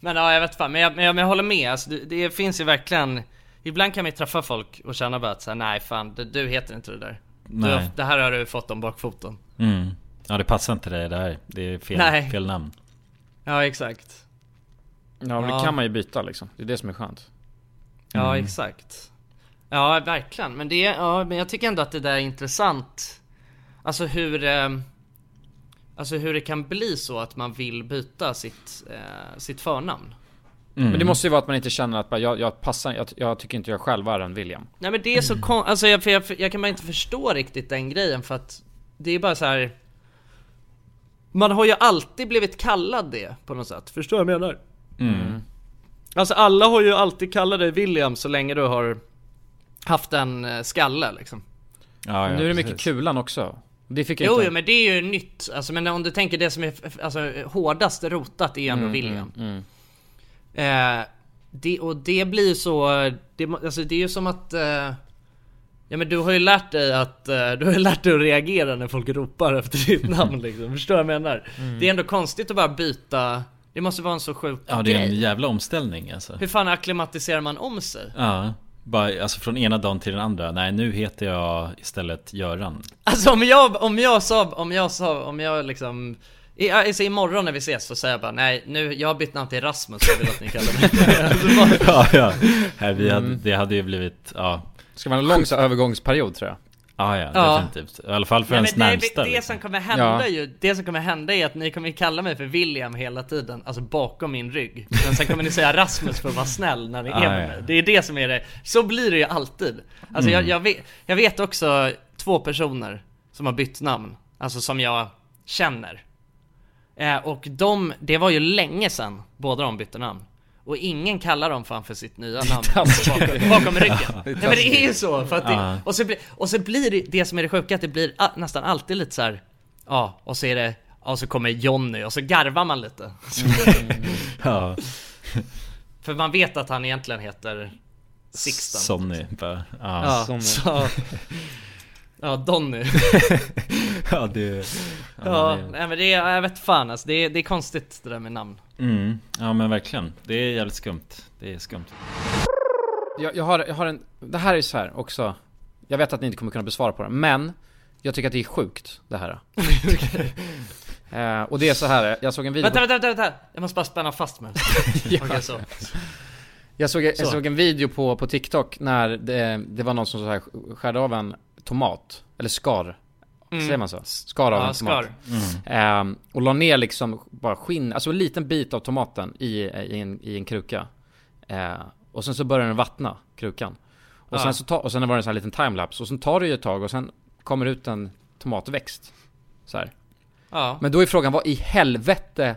B: men ja, jag vet fan. Men jag, men jag, men jag håller med. Alltså, det, det finns ju verkligen... Ibland kan man ju träffa folk och känna bara att så här, nej fan, du, du heter inte det där. Du,
C: Nej.
B: det här har du fått om bakfoten.
C: Mm. Ja, det passar inte dig det här. Det är fel,
B: Nej.
C: fel namn.
B: Ja, exakt.
A: Ja, men
B: Ja.
A: det kan man ju byta liksom. Det är det som är skönt.
B: Ja, exakt. Ja, verkligen. Men, det, ja, men jag tycker ändå att det där är intressant. Alltså hur... Eh, alltså hur det kan bli så att man vill byta sitt, eh, sitt förnamn.
A: Men det måste ju vara att man inte känner att bara, jag, jag passar, jag, jag tycker inte jag själv är en William.
B: Nej men det är så kon- alltså jag, för jag, för jag kan bara inte förstå riktigt den grejen för att det är bara så här. Man har ju alltid blivit kallad det på något sätt. Förstår du vad jag menar? Alltså alla har ju alltid kallat dig William så länge du har haft en eh, skalle liksom.
C: Ja, ja,
A: nu är det
C: precis.
A: mycket kulan också. Det fick jag
B: Jo,
A: inte...
B: jo men det är ju nytt. Alltså, men om du tänker det som är f- alltså, hårdast rotat är
C: Mm,
B: ändå William. Eh, det, och det blir ju så... Det, må- alltså, det är ju som att... Eh, ja men du har ju lärt dig att... Eh, du har ju lärt dig att reagera när folk ropar efter ditt
C: Mm.
B: namn liksom. Förstår du vad jag menar? Det är ändå konstigt att bara byta... Det måste vara en så sjuk
C: Ja, det är en
B: grej.
C: jävla omställning alltså.
B: Hur fan akklimatiserar man om sig?
C: Ja, bara, alltså från ena dagen till den andra. Nej, nu heter jag
B: [LAUGHS]
C: istället Göran.
B: Alltså om jag, om jag sa, om jag sa, om jag liksom i, alltså imorgon när vi ses så säger jag bara nej nu, jag har bytt namn till Rasmus jag vill att ni kallar mig
C: [LAUGHS]
B: alltså, bara,
C: ja, ja. Här, vi hade,
B: Mm.
C: det hade ju blivit, ja.
A: Ska vara en lång så här, övergångsperiod tror jag.
C: Ja, ja,
B: Ja.
C: definitivt. I alla fall för
B: nej,
C: ens
B: men det,
C: närmsta.
B: det, det
C: liksom.
B: som kommer hända
A: Ja.
B: ju, det som kommer hända är att ni kommer kalla mig för William hela tiden, alltså bakom min rygg Men sen kommer ni säga Rasmus för att vara snäll när ni är
C: Ah,
B: med
C: ja.
B: mig Det är det som är det, så blir det ju alltid Alltså jag,
C: Mm.
B: jag, vet, jag vet också två personer som har bytt namn, alltså som jag känner Eh, och de, det var ju länge sedan båda de bytte namn. Och ingen kallar dem fan för sitt nya namn bakom, bakom
C: [LAUGHS]
B: ryggen. Nej men det är ju så! För att
C: Ja.
B: det, och, så blir, och så blir det, det som är det sjuka, att det blir a, nästan alltid lite så här. ja, och så är det, ja, och så kommer Jonny och så garvar man lite.
C: Mm. Ja,
B: För man vet att han egentligen heter Sixten.
C: Sonny. Bara, ja.
B: ja, så, [LAUGHS] ja, Donny.
C: ja, det...
B: Ja, nej men det är, jag vet fan alltså, det är, det är konstigt det där med namn.
C: Mm. Ja, men verkligen. Det är jävligt skumt. Det är skumt.
A: Jag, jag, har, jag har en... Det här är så här också. Jag vet att ni inte kommer kunna besvara på det, men jag tycker att det är sjukt det här. eh, och det är så här. jag såg en video... på-
B: Vänta, vänta, vänta, vänta! Jag måste bara spänna fast mig. Okej, så.
A: Jag såg, jag
B: Så.
A: såg en video på, på TikTok när det, det var någon som så här skärde av en tomat, eller skar Mm. Säger man så? Skar av
L: Ja,
A: en tomat.
L: skar.
A: Ehm, och la ner liksom bara skinn, alltså en liten bit av tomaten i, i, en, i en kruka. Eh, och sen så börjar den vattna, krukan. Och,
L: Ja.
A: sen, så ta, och sen var det en sån här liten timelapse. Och sen tar det ju ett tag och sen kommer det ut en tomatväxt. Så här.
L: Ja.
A: Men då är frågan, vad i helvete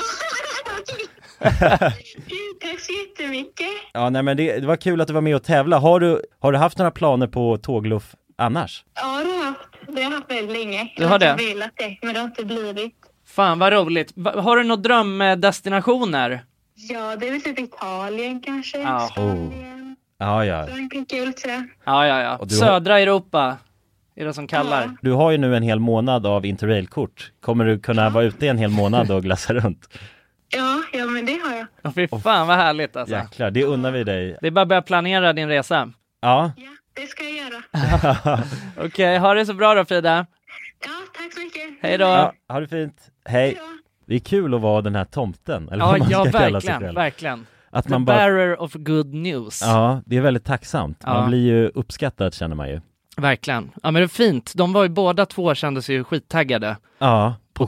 I: Tack så jättemycket.
C: Ja, nej men det, det var kul att du var med och tävla. Har du, har du haft några planer på tågluff annars?
I: Ja, det har jag haft. Det har jag haft väldigt länge.
B: Du har
I: Jag
B: det?
I: velat det, men det har inte blivit.
B: Fan vad roligt. Va- Har du några drömdestinationer?
I: Ja, det är väl typ Italien kanske.
B: Ja.
C: Oh. Ja, ja.
I: Frankrike och lite sådär.
B: Ja, ja, ja.
C: Och du har-
B: Södra Europa är det som kallar.
C: Du har ju nu en hel månad av interrailkort. Kommer du kunna vara ute i en hel månad och glassa runt?
I: Ja, ja, men det har jag.
B: Åh, Fy fan vad härligt alltså.
C: Jäklar, det unnar vi dig.
B: Det är bara att börja planera din resa.
C: [LAUGHS] Ja.
I: Det ska jag göra.
B: Okej, ha det så bra då Frida.
I: Ja, tack så mycket.
B: Hej då.
C: ja ha det fint. Hej! Det är kul att vara den här tomten, eller
M: Ja,
C: vad man
M: ja
C: ska kalla sig
M: verkligen,
C: själv.
M: verkligen.
C: Att
M: The
C: man bara-
M: bearer of good news.
C: Ja, det är väldigt tacksamt. Man
M: Ja.
C: blir ju uppskattad känner man ju.
M: Verkligen. Ja men det är fint, de var ju båda två kände sig ju skittaggade.
C: Ja.
M: På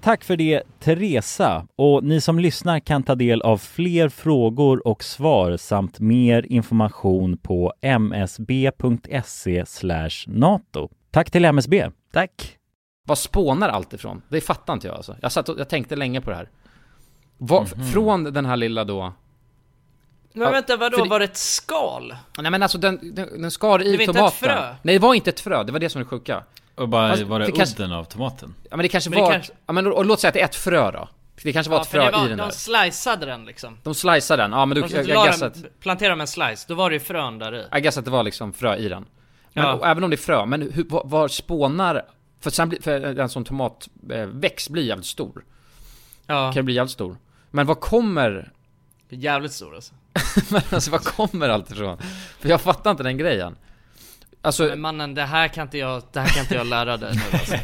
C: Tack för det Teresa och ni som lyssnar kan ta del av fler frågor och svar samt mer information på msb.se E NATO. Tack till MSB.
M: Tack.
A: Vad spånar allt ifrån? Det fattar inte jag alltså. Jag, satt och, jag tänkte länge på det här. Va, Från den här lilla då...
B: Men vänta, vadå? Var det ett skal?
A: Nej men alltså den, den, den skar
B: Det
A: i
B: var inte
A: tomaten.
B: ett frö.
A: Nej det var inte ett frö, det var det som var det sjuka.
N: Och bara
A: Fast
N: var det,
A: det
N: udden
A: kanske-
N: av tomaten?
A: Ja men det kanske
B: Men det
A: var...
B: kanske-
A: Ja men och, och låt säga att det är ett frö då. Det kanske var ett
B: för det
A: frö
B: var-
A: i den
B: de
A: där.
B: sliceade den liksom.
A: De sliceade den, ja men du,
B: De
A: jag,
B: la
A: jag guess
B: den-
A: att...
B: Planterade med en slice, då var det ju frön där i.
A: I guess att det var liksom frö i den. Men,
B: Ja.
A: och även om det är frö, men hur, var, var spånar... För sen blir, för en sån tomatväxt blir jävligt stor.
B: Ja.
A: Kan bli jävligt stor. Men vad kommer...
B: Jävligt stor alltså.
A: men [LAUGHS] alltså vad kommer allt ifrån? För jag fattar inte den grejen. Alltså...
B: Men mannen, det här kan inte jag, det här kan inte jag lära dig nu alltså.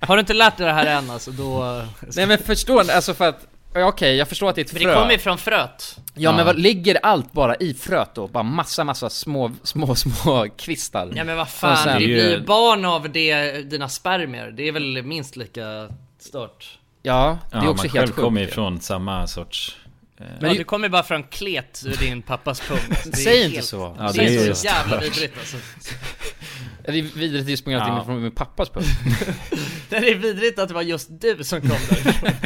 B: Har du inte lärt dig det här än alltså, då...
A: Nej men förstår ni? Alltså för att... ja, Okej, jag förstår att det är ett
B: Men
A: frö.
B: det kommer ju från fröet.
A: Ja, men vad, ligger allt bara i fröet då? Bara massa, massa små, små, små kvistar?
B: Ja men vad
A: Och
B: fan,
A: sen-
B: det blir ju barn av det, dina spermier. Det är väl minst lika stört.
A: Ja, det är
N: Ja,
A: också
N: man
A: helt
N: själv
A: sjukt.
N: kommer
A: ju.
N: ju från samma sorts... eh,
B: Men ja, du kommer bara från klet ur din pappas pung. [LAUGHS] Det är
A: Säg inte
B: helt-
A: så.
N: Ja,
B: det,
N: det
B: är,
N: är
B: så jävla
N: stört.
B: vidrigt alltså.
A: Är det vidrigt i sprunget
B: Ja.
A: ja. från min pappas pung?
B: [LAUGHS] Det är vidrigt att det var just du som kom där.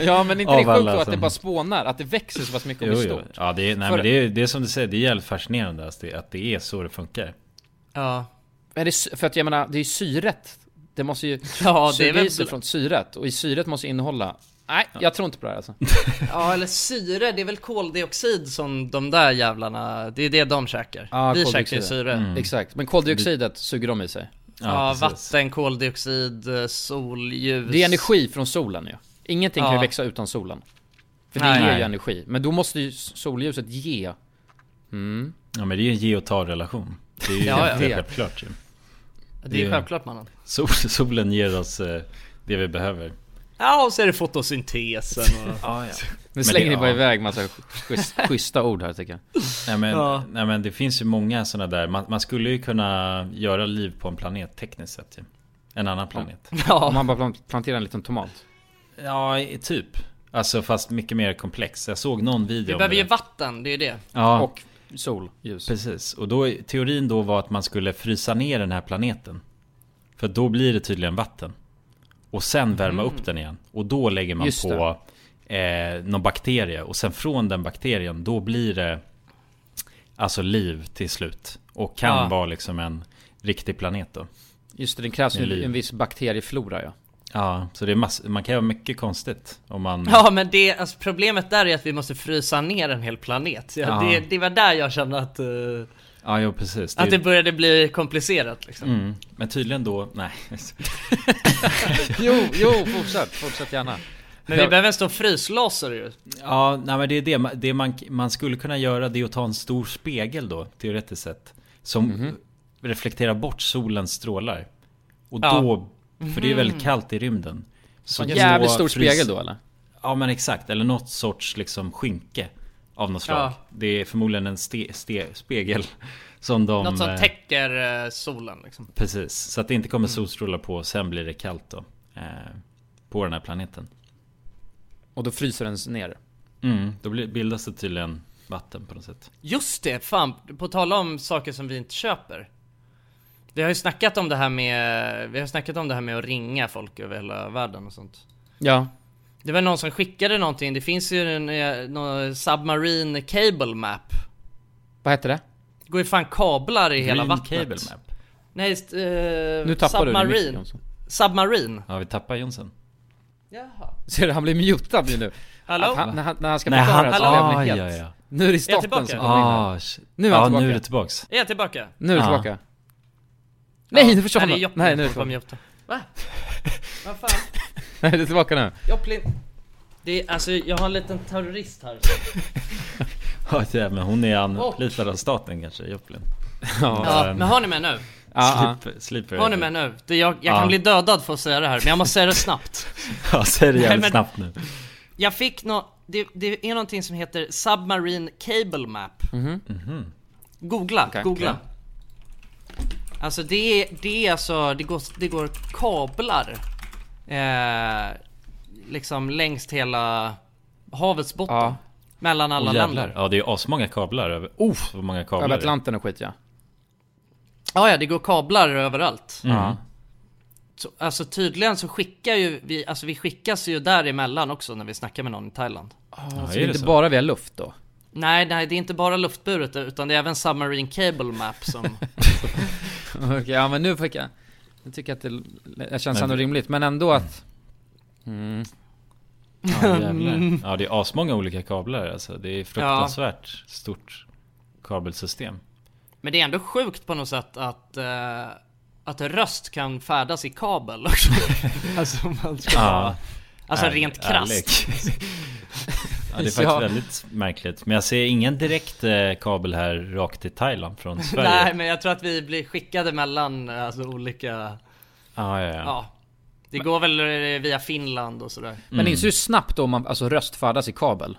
A: ja men inte
N: Av
A: det sjukt
N: alla
A: då att det
N: som-
A: bara spånar? Att det växer så pass mycket och
N: Jo,
A: blir
N: jo.
A: stort?
N: Ja, det är, nej,
A: För-
N: men det är, det är som du säger, det är jävligt fascinerande alltså, det- att det är så det funkar.
B: [LAUGHS] Ja.
A: Men det, är sy- för att jag menar, det är ju syret. Det måste ju...
B: Ja, det är väl-
A: från syret. Och i syret måste innehålla
B: Nej,
A: jag tror inte på det här alltså.
B: Ja, eller syre, det är väl koldioxid som de där jävlarna, det är det de käkar. Vi käkar ju syre.
A: Exakt, men koldioxidet suger de i sig.
B: Mm. Ja, vatten, koldioxid, eh, solljus.
A: Det är energi från solen ju. Ingenting kan
B: Ja.
A: ju växa utan solen. För det
B: Nej.
A: ger
B: Nej.
A: ju energi. Men då måste ju solljuset ge. Mm.
C: Ja men det är ju en ge och ta-relation. Det är ju
B: Ja,
C: helt
B: ja.
C: självklart ju.
B: Det är självklart, mannen.
C: Sol, solen ger oss eh, det vi behöver.
B: Ja, och så är det fotosyntesen [LAUGHS] och...
C: ja, ja.
A: Nu slänger ni bara
C: ja.
A: iväg massa schysst, [LAUGHS] schyssta ord här tycker jag.
C: Nej men,
A: Ja.
C: nej men det finns ju många sådana där. Man, man skulle ju kunna göra liv på en planet tekniskt sett ju. En annan planet.
A: Om man bara plant- planterar en liten tomat.
C: Ja, i- typ. Alltså fast mycket mer komplex. Jag såg någon video
B: Vi
C: om
B: behöver
C: det.
B: ju vatten, det är ju det.
C: Ja.
A: Och solljus.
C: Precis. Och då, teorin då var att man skulle frysa ner den här planeten. För då blir det tydligen vatten. Och sen värma
A: Mm.
C: upp den igen. Och då lägger man
A: Just
C: på eh, någon bakterie. Och sen från den bakterien, då blir det alltså liv till slut. Och kan
A: Ja.
C: vara liksom en riktig planet då.
A: Just det, det krävs
C: Med
A: ju
C: liv.
A: en viss bakterieflora ja.
C: Ja, så det är mass- man kan göra mycket konstigt om man...
B: Ja men det, alltså problemet där är att vi måste frysa ner en hel planet. Ja,
C: Ja.
B: Det, det var där jag kände att, eh,
C: Ja, jo, precis.
B: att det började bli komplicerat liksom.
C: Mm.
A: typ-
C: Men tydligen då, nej.
A: [LAUGHS]
C: [LAUGHS]
A: Jo, jo, fortsätt. Fortsätt gärna.
B: Men vi behöver en stor fryslaser ju.
C: Ja, nej, men det är det, man- det man, man skulle kunna göra det är att ta en stor spegel då, teoretiskt sett. Som
A: Mhm.
C: reflekterar bort solens strålar. Och
A: Ja.
C: då, för det är väldigt
A: Mhm.
C: kallt i rymden.
A: En jävligt stor
C: frys-
A: spegel då, eller?
C: Ja men exakt, eller något sorts liksom skynke. Av något slag.
B: Ja.
C: Det är förmodligen en ste, ste, spegel. [LAUGHS] Som de...
B: Något som
C: eh,
B: täcker eh, solen liksom.
C: Precis, så att det inte
B: Mm.
C: kommer solstrålar på och sen blir det kallt då. Eh, på den här planeten.
A: Och då fryser den ner.
C: Mm, då blir, bildas det tydligen vatten på något sätt.
B: Just det, fan. På tal om saker som vi inte köper. Vi har ju snackat om det här med, vi har snackat om det här med att ringa folk över hela världen och sånt.
A: Ja.
B: Det var någon som skickade någonting, det finns ju en, eh, någon submarine cable map.
A: Vad heter det?
B: Det går ju fan kablar i hela
A: Green
B: vattnet.
A: cable map.
B: Nej, just, eh, nu
A: tappar du din mick,
B: submarine.
A: Jonsson.
B: submarine.
C: Ja, vi tappar Jonsson.
A: Ser du, han blir mutad ju nu.
B: Hallå?
A: Att Han, när, han, när han ska
C: Nej,
A: förklara
C: han-
A: så
C: Hallå?
A: blev han
C: Ja,
A: het.
C: ja, ja.
A: Nu är det
B: Är jag
A: staten
B: tillbaka?
A: som kommer in här.
C: Ah, shit.
A: Nu är
C: Ja,
A: han tillbaka.
C: nu är det tillbaks. [LAUGHS]
B: Är jag tillbaka?
A: Nu är det
C: Ja.
A: tillbaka. Nej, nu försvann
B: Nej, det är
A: han.
B: Joplin
A: Nej, nu är det
B: som kom
A: tillbaka.
B: Joplin. Va? Vad fan?
A: Nej, det är tillbaka nu.
B: Joplin. Det är, alltså jag har en liten terrorist här.
C: Ja, det är- men hon är anlitad av staten kanske, Joplin.
B: Ja, men hör ni mig nu?
A: Ah,
C: Slip, slipper
B: Hör ni mig nu? Det, jag jag
C: Ja.
B: kan bli dödad för att säga det här, men jag måste säga det snabbt.
C: [LAUGHS] Ja, säg det
B: Nej,
C: jävligt
B: men-
C: snabbt nu.
B: Jag fick nå... Det, det är någonting som heter Submarine Cable Map. Mhm. Googla,
A: Okej.
B: googla.
A: Okej.
B: Alltså det är, det är alltså, det går, det går kablar. Eh, liksom längst hela havets botten.
A: Ja.
B: Mellan alla
C: Åh, jävlar.
B: länder.
C: Ja, det är asmånga kablar. Över, oh, vad många kablar.
A: Över
C: det är.
A: Atlanten och skit ja.
B: Ja, ja, det går kablar överallt.
C: Mm.
B: Så, alltså tydligen så skickar ju vi, alltså vi skickas ju däremellan också när vi snackar med någon i Thailand.
A: så
C: är
A: det
C: det
A: är Alltså, inte
C: så?
A: bara via luft då? [LAUGHS]
B: Nej, nej, det är inte bara luftburet utan det är även Submarine Cable Map
C: [LAUGHS]
B: som...
A: Okej, ja men nu fick jag... Nu tycker jag att det l- jag känns
C: Men-
A: ändå rimligt, men ändå att... Mm.
C: Ja, jävlar. ja, det är asmånga olika kablar alltså. Det är fruktansvärt stort kabelsystem.
B: Men det är ändå sjukt på något sätt att, eh, att en röst kan färdas i kabel.
C: [LAUGHS]
B: alltså om man ska
C: Ja.
B: vara- Alltså
C: Är-
B: rent
C: ärlig.
B: krasst.
C: Ja, det är faktiskt
B: Ja.
C: väldigt märkligt. Men jag ser ingen direkt eh, kabel här rakt till Thailand
B: [LAUGHS]
C: från Sverige.
B: Nej men jag tror att vi blir skickade mellan eh, alltså, olika...
C: Ah, Ja, ja, ja.
B: Ja. Det går väl eh, via Finland och sådär.
C: Mm.
A: Men inser hur snabbt om man alltså, röstfärdas i kabel?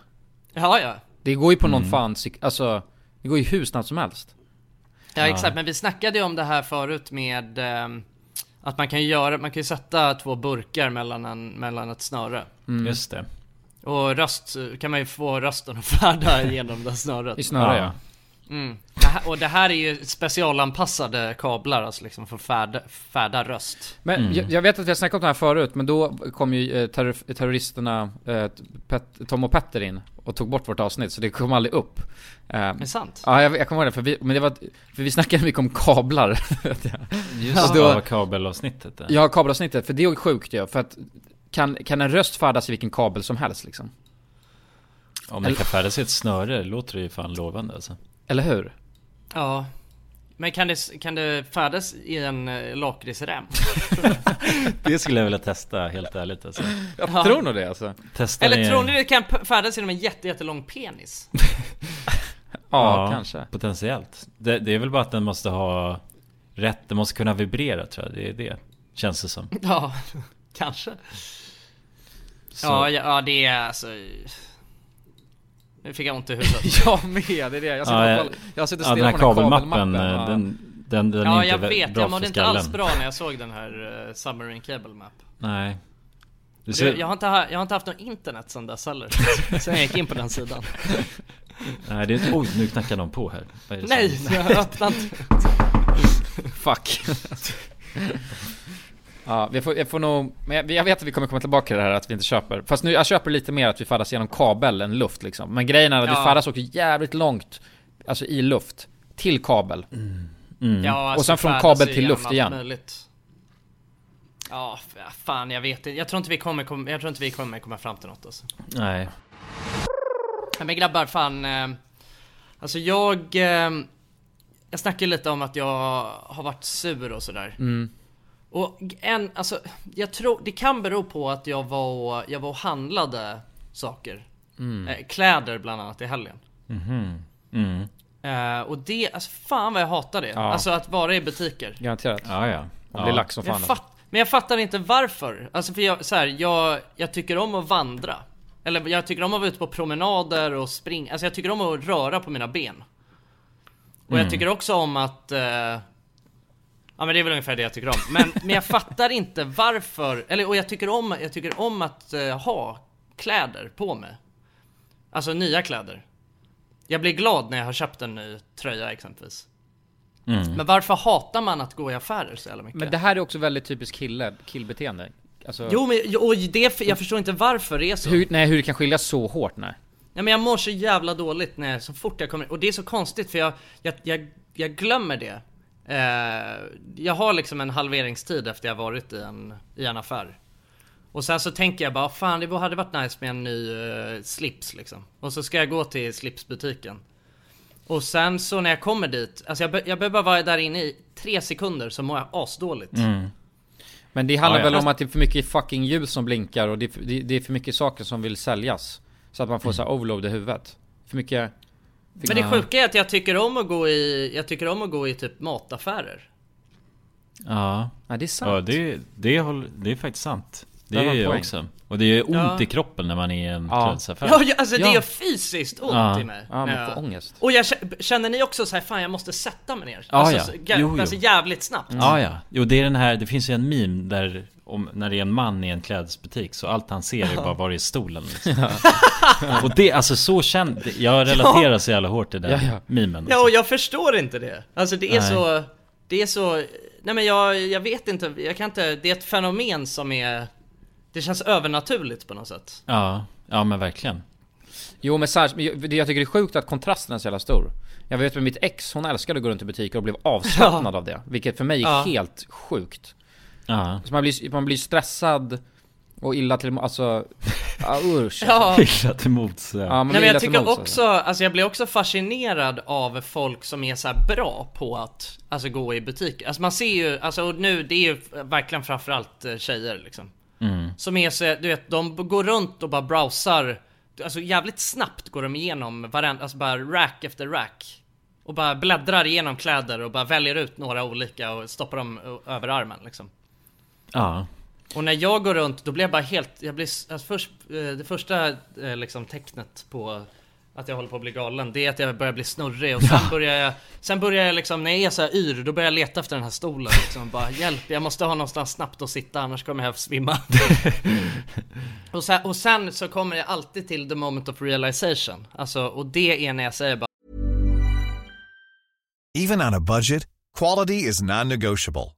B: Ja ja.
A: Det går ju på någon
C: Mm.
A: fan sek- alltså... Det går ju hur snabbt som helst.
B: Ja exakt, men vi snackade ju om det här förut med ehm, att man kan ju göra, man kan ju sätta två burkar mellan, en, mellan ett snöre.
C: Mm. Just det.
B: Och röst, kan man ju få rösten att färda
C: [LAUGHS]
B: genom det snöret.
A: I snöre, ja.
B: Mm. Det här, och det här är ju specialanpassade kablar alltså liksom för att färda, färda röst.
C: Mm.
A: Men jag, jag vet att vi har snackat om det här förut, men då kom ju eh, terror, terroristerna eh, Pet, Tom och Petter in och tog bort vårt avsnitt, så det kom aldrig upp. Eh, är
B: det sant?
A: Ja, jag, jag kommer ihåg det, för vi, men det var, för vi snackade mycket om [LAUGHS] kablar. vet jag.
C: Just
A: Och
C: det,
A: då-
C: ja, kabelavsnittet. eh. där.
A: Ja, kabelavsnittet, för det är ju sjukt ju, för att kan, kan en röst färdas i vilken kabel som helst liksom?
C: Om det kan färdas i ett snöre låter det ju fan lovande alltså.
A: Eller hur?
B: Ja. Men kan det, kan det färdas i en eh,
C: [LAUGHS]
B: lakritsrem?
C: Det skulle jag vilja testa helt ärligt alltså.
A: Jag tror nog det alltså.
C: Testa
B: Eller
C: i-
B: tror ni det kan p- färdas genom en jätte, jättelång
C: [LAUGHS]
B: penis?
A: Ja, kanske.
C: Potentiellt. Det, det är väl bara att den måste ha rätt, den måste kunna vibrera tror jag. Det är det. Känns det som.
B: Ja, [LAUGHS] kanske.
C: Så.
B: Ja, ja, ja, det är alltså... Nu fick jag ont i
C: [LAUGHS]
A: [LAUGHS]
B: huvudet.
A: jag med, det är det. Jag sitter,
C: ja,
A: och koll- jag sitter
C: ja,
A: stilla
C: den här
A: på den här
C: kabelmappen,
A: kabelmappen.
C: eh,
A: ja.
C: den, den, den är
B: ja,
C: inte
B: jag
C: vä-
B: vet.
C: bra
B: Jag mådde
C: för
B: inte
C: skallen.
B: alls bra när jag såg den här eh, Submarine Cable Map.
C: Nej. Det
B: Och
A: Alltså,
C: ser,
B: det- Jag, har inte, ha- jag har inte haft något internet sedan
A: [LAUGHS]
B: dess heller. Sen jag gick in på den sidan.
C: Nej, det är, oj, nu knackar någon på här. Vad är det som-
B: Nej, jag öppnar inte.
A: Fuck. ja, vi får, jag får nog, men jag, jag vet att vi kommer komma tillbaka till det här att vi inte köper. Fast nu, jag köper lite mer att vi färdas genom kabel än luft liksom. Men grejen är att
B: Ja.
A: vi färdas också jävligt långt, alltså i luft, till kabel.
C: Mm.
B: Ja,
A: Mm. och sen
B: alltså,
A: från
B: färdas
A: kabel till
B: igenom
A: luft
B: allt
A: igen.
B: möjligt. Ja, f- ja, fan jag vet inte. Jag tror inte vi kommer, kom, jag tror inte vi kommer komma fram till något alltså.
C: Nej.
B: Nej, Men grabbar, fan. eh, Alltså jag... eh, Jag snackade ju lite om att jag har varit sur och sådär.
A: Mm.
B: Och en, alltså, jag tror, det kan bero på att jag var och, jag var och handlade saker.
C: Mm.
B: Eh, Kläder bland annat i helgen.
C: Mhm. Mm.
B: Eh, och det, alltså fan vad jag hatar det.
C: Ja.
B: Alltså att vara i butiker.
A: Garanterat.
C: Ja, ja.
A: Och blir lack som fan.
B: Jag fatt, men jag fattar inte varför. Alltså för jag, så här, jag, jag tycker om att vandra. Eller jag tycker om att vara ute på promenader och springa. Alltså jag tycker om att röra på mina ben. Och
O: Mm.
B: jag tycker också om att... Eh, ja men det är väl ungefär det jag tycker om. Men, men jag fattar inte varför. Eller och jag tycker om, jag tycker om att eh, ha kläder på mig. Alltså nya kläder. Jag blir glad när jag har köpt en ny tröja exempelvis.
A: Mm.
B: Men varför hatar man att gå i affärer så jävla mycket?
A: Men det här är också väldigt typiskt kille, killbeteende. Alltså,
B: Jo men jo, och det, jag förstår inte varför det är så.
A: hur, nej, hur det kan skilja så hårt nej.
B: Nej men jag mår så jävla dåligt när, så fort jag kommer Och det är så konstigt för jag, jag, jag, jag glömmer det. Eh, jag har liksom en halveringstid efter jag varit i en, i en affär. Och sen så tänker jag bara, fan det hade varit nice med en ny eh, slips liksom. Och så ska jag gå till slipsbutiken. Och sen så när jag kommer dit, alltså jag, be- jag behöver bara vara där inne i tre sekunder så mår jag asdåligt.
A: Men det handlar
B: Ja, ja.
A: väl om att det är för mycket fucking ljus som blinkar och det är för, det, det är för mycket saker som vill säljas. Så att man
C: Mm.
A: får så här overload i huvudet. För mycket... för-
B: Men det sjuka är att jag tycker om att gå i, jag tycker om att gå i typ mataffärer.
C: Ja.
A: ja, det är sant.
C: Ja, det, det, håller, det är faktiskt sant. Det
A: Där
C: är
A: var
C: jag
A: poäng.
C: också. Och det gör ont
B: Ja.
C: i kroppen när man är i en
A: Ja.
C: klädesaffär.
B: Ja, ja alltså det
A: Ja.
B: gör fysiskt ont
C: Ja.
B: i mig.
A: Ja, man
B: Ja.
A: får ångest.
B: Och jag kä- känner ni också så här, fan jag måste sätta mig ner?
C: Ja,
B: alltså,
C: ja.
B: så- ga-
C: Jo, Mm. jo.
B: alltså jävligt snabbt.
C: Ja, ja. Jo, det är den här, det finns ju en meme där om, när det är en man i en klädesbutik så allt han ser är
B: Ja.
C: bara var är stolen liksom. [LAUGHS] Och det, alltså så kände, jag relaterar så jävla hårt till den
B: Ja, ja.
C: memen.
B: Ja, och jag förstår inte det. Alltså det är
C: Nej.
B: så, det är så, nej men jag, jag vet inte, jag kan inte, det är ett fenomen som är, det känns övernaturligt på något sätt.
C: Ja, ja men verkligen.
A: Jo men särskilt, men jag- det jag tycker det är sjukt att kontrasten är så jävla stor. Jag vet med mitt ex, hon älskade att gå runt i butiker och blev avslappnad av det. Vilket för mig är
C: Ja.
A: helt sjukt.
C: Ja.
A: Så man blir, man blir stressad och illa till
B: [LAUGHS]
A: alltså... Ja usch.
C: [LAUGHS]
B: Ja.
C: Illa till mods.
A: Ja, man
B: Nej,
A: blir
B: men
A: illa
B: jag
A: till
B: tycker
A: mods,
B: också, alltså jag blir också fascinerad av folk som är så här bra på att alltså, gå i butik. Alltså man ser ju, alltså och nu det är ju verkligen framförallt eh, tjejer liksom.
C: Mm.
B: Som är så, du vet, de b- går runt och bara browsar. Alltså jävligt snabbt går de igenom varenda, alltså bara rack efter rack. Och bara bläddrar igenom kläder och bara väljer ut några olika och stoppar dem ö- över armen liksom.
C: Ja.
B: Och när jag går runt då blir jag bara helt, jag blir, s- alltså först, eh, det första eh, liksom tecknet på att jag håller på att bli galen det är att jag börjar bli snurrig och sen börjar jag, sen börjar jag liksom när jag är så här yr då börjar jag leta efter den här stolen liksom bara hjälp jag måste ha någonstans snabbt att sitta annars kommer jag svimma. och, sen, och sen så kommer jag alltid till the moment of realization, alltså och det är när jag säger bara
G: Even on a budget, quality is non-negotiable.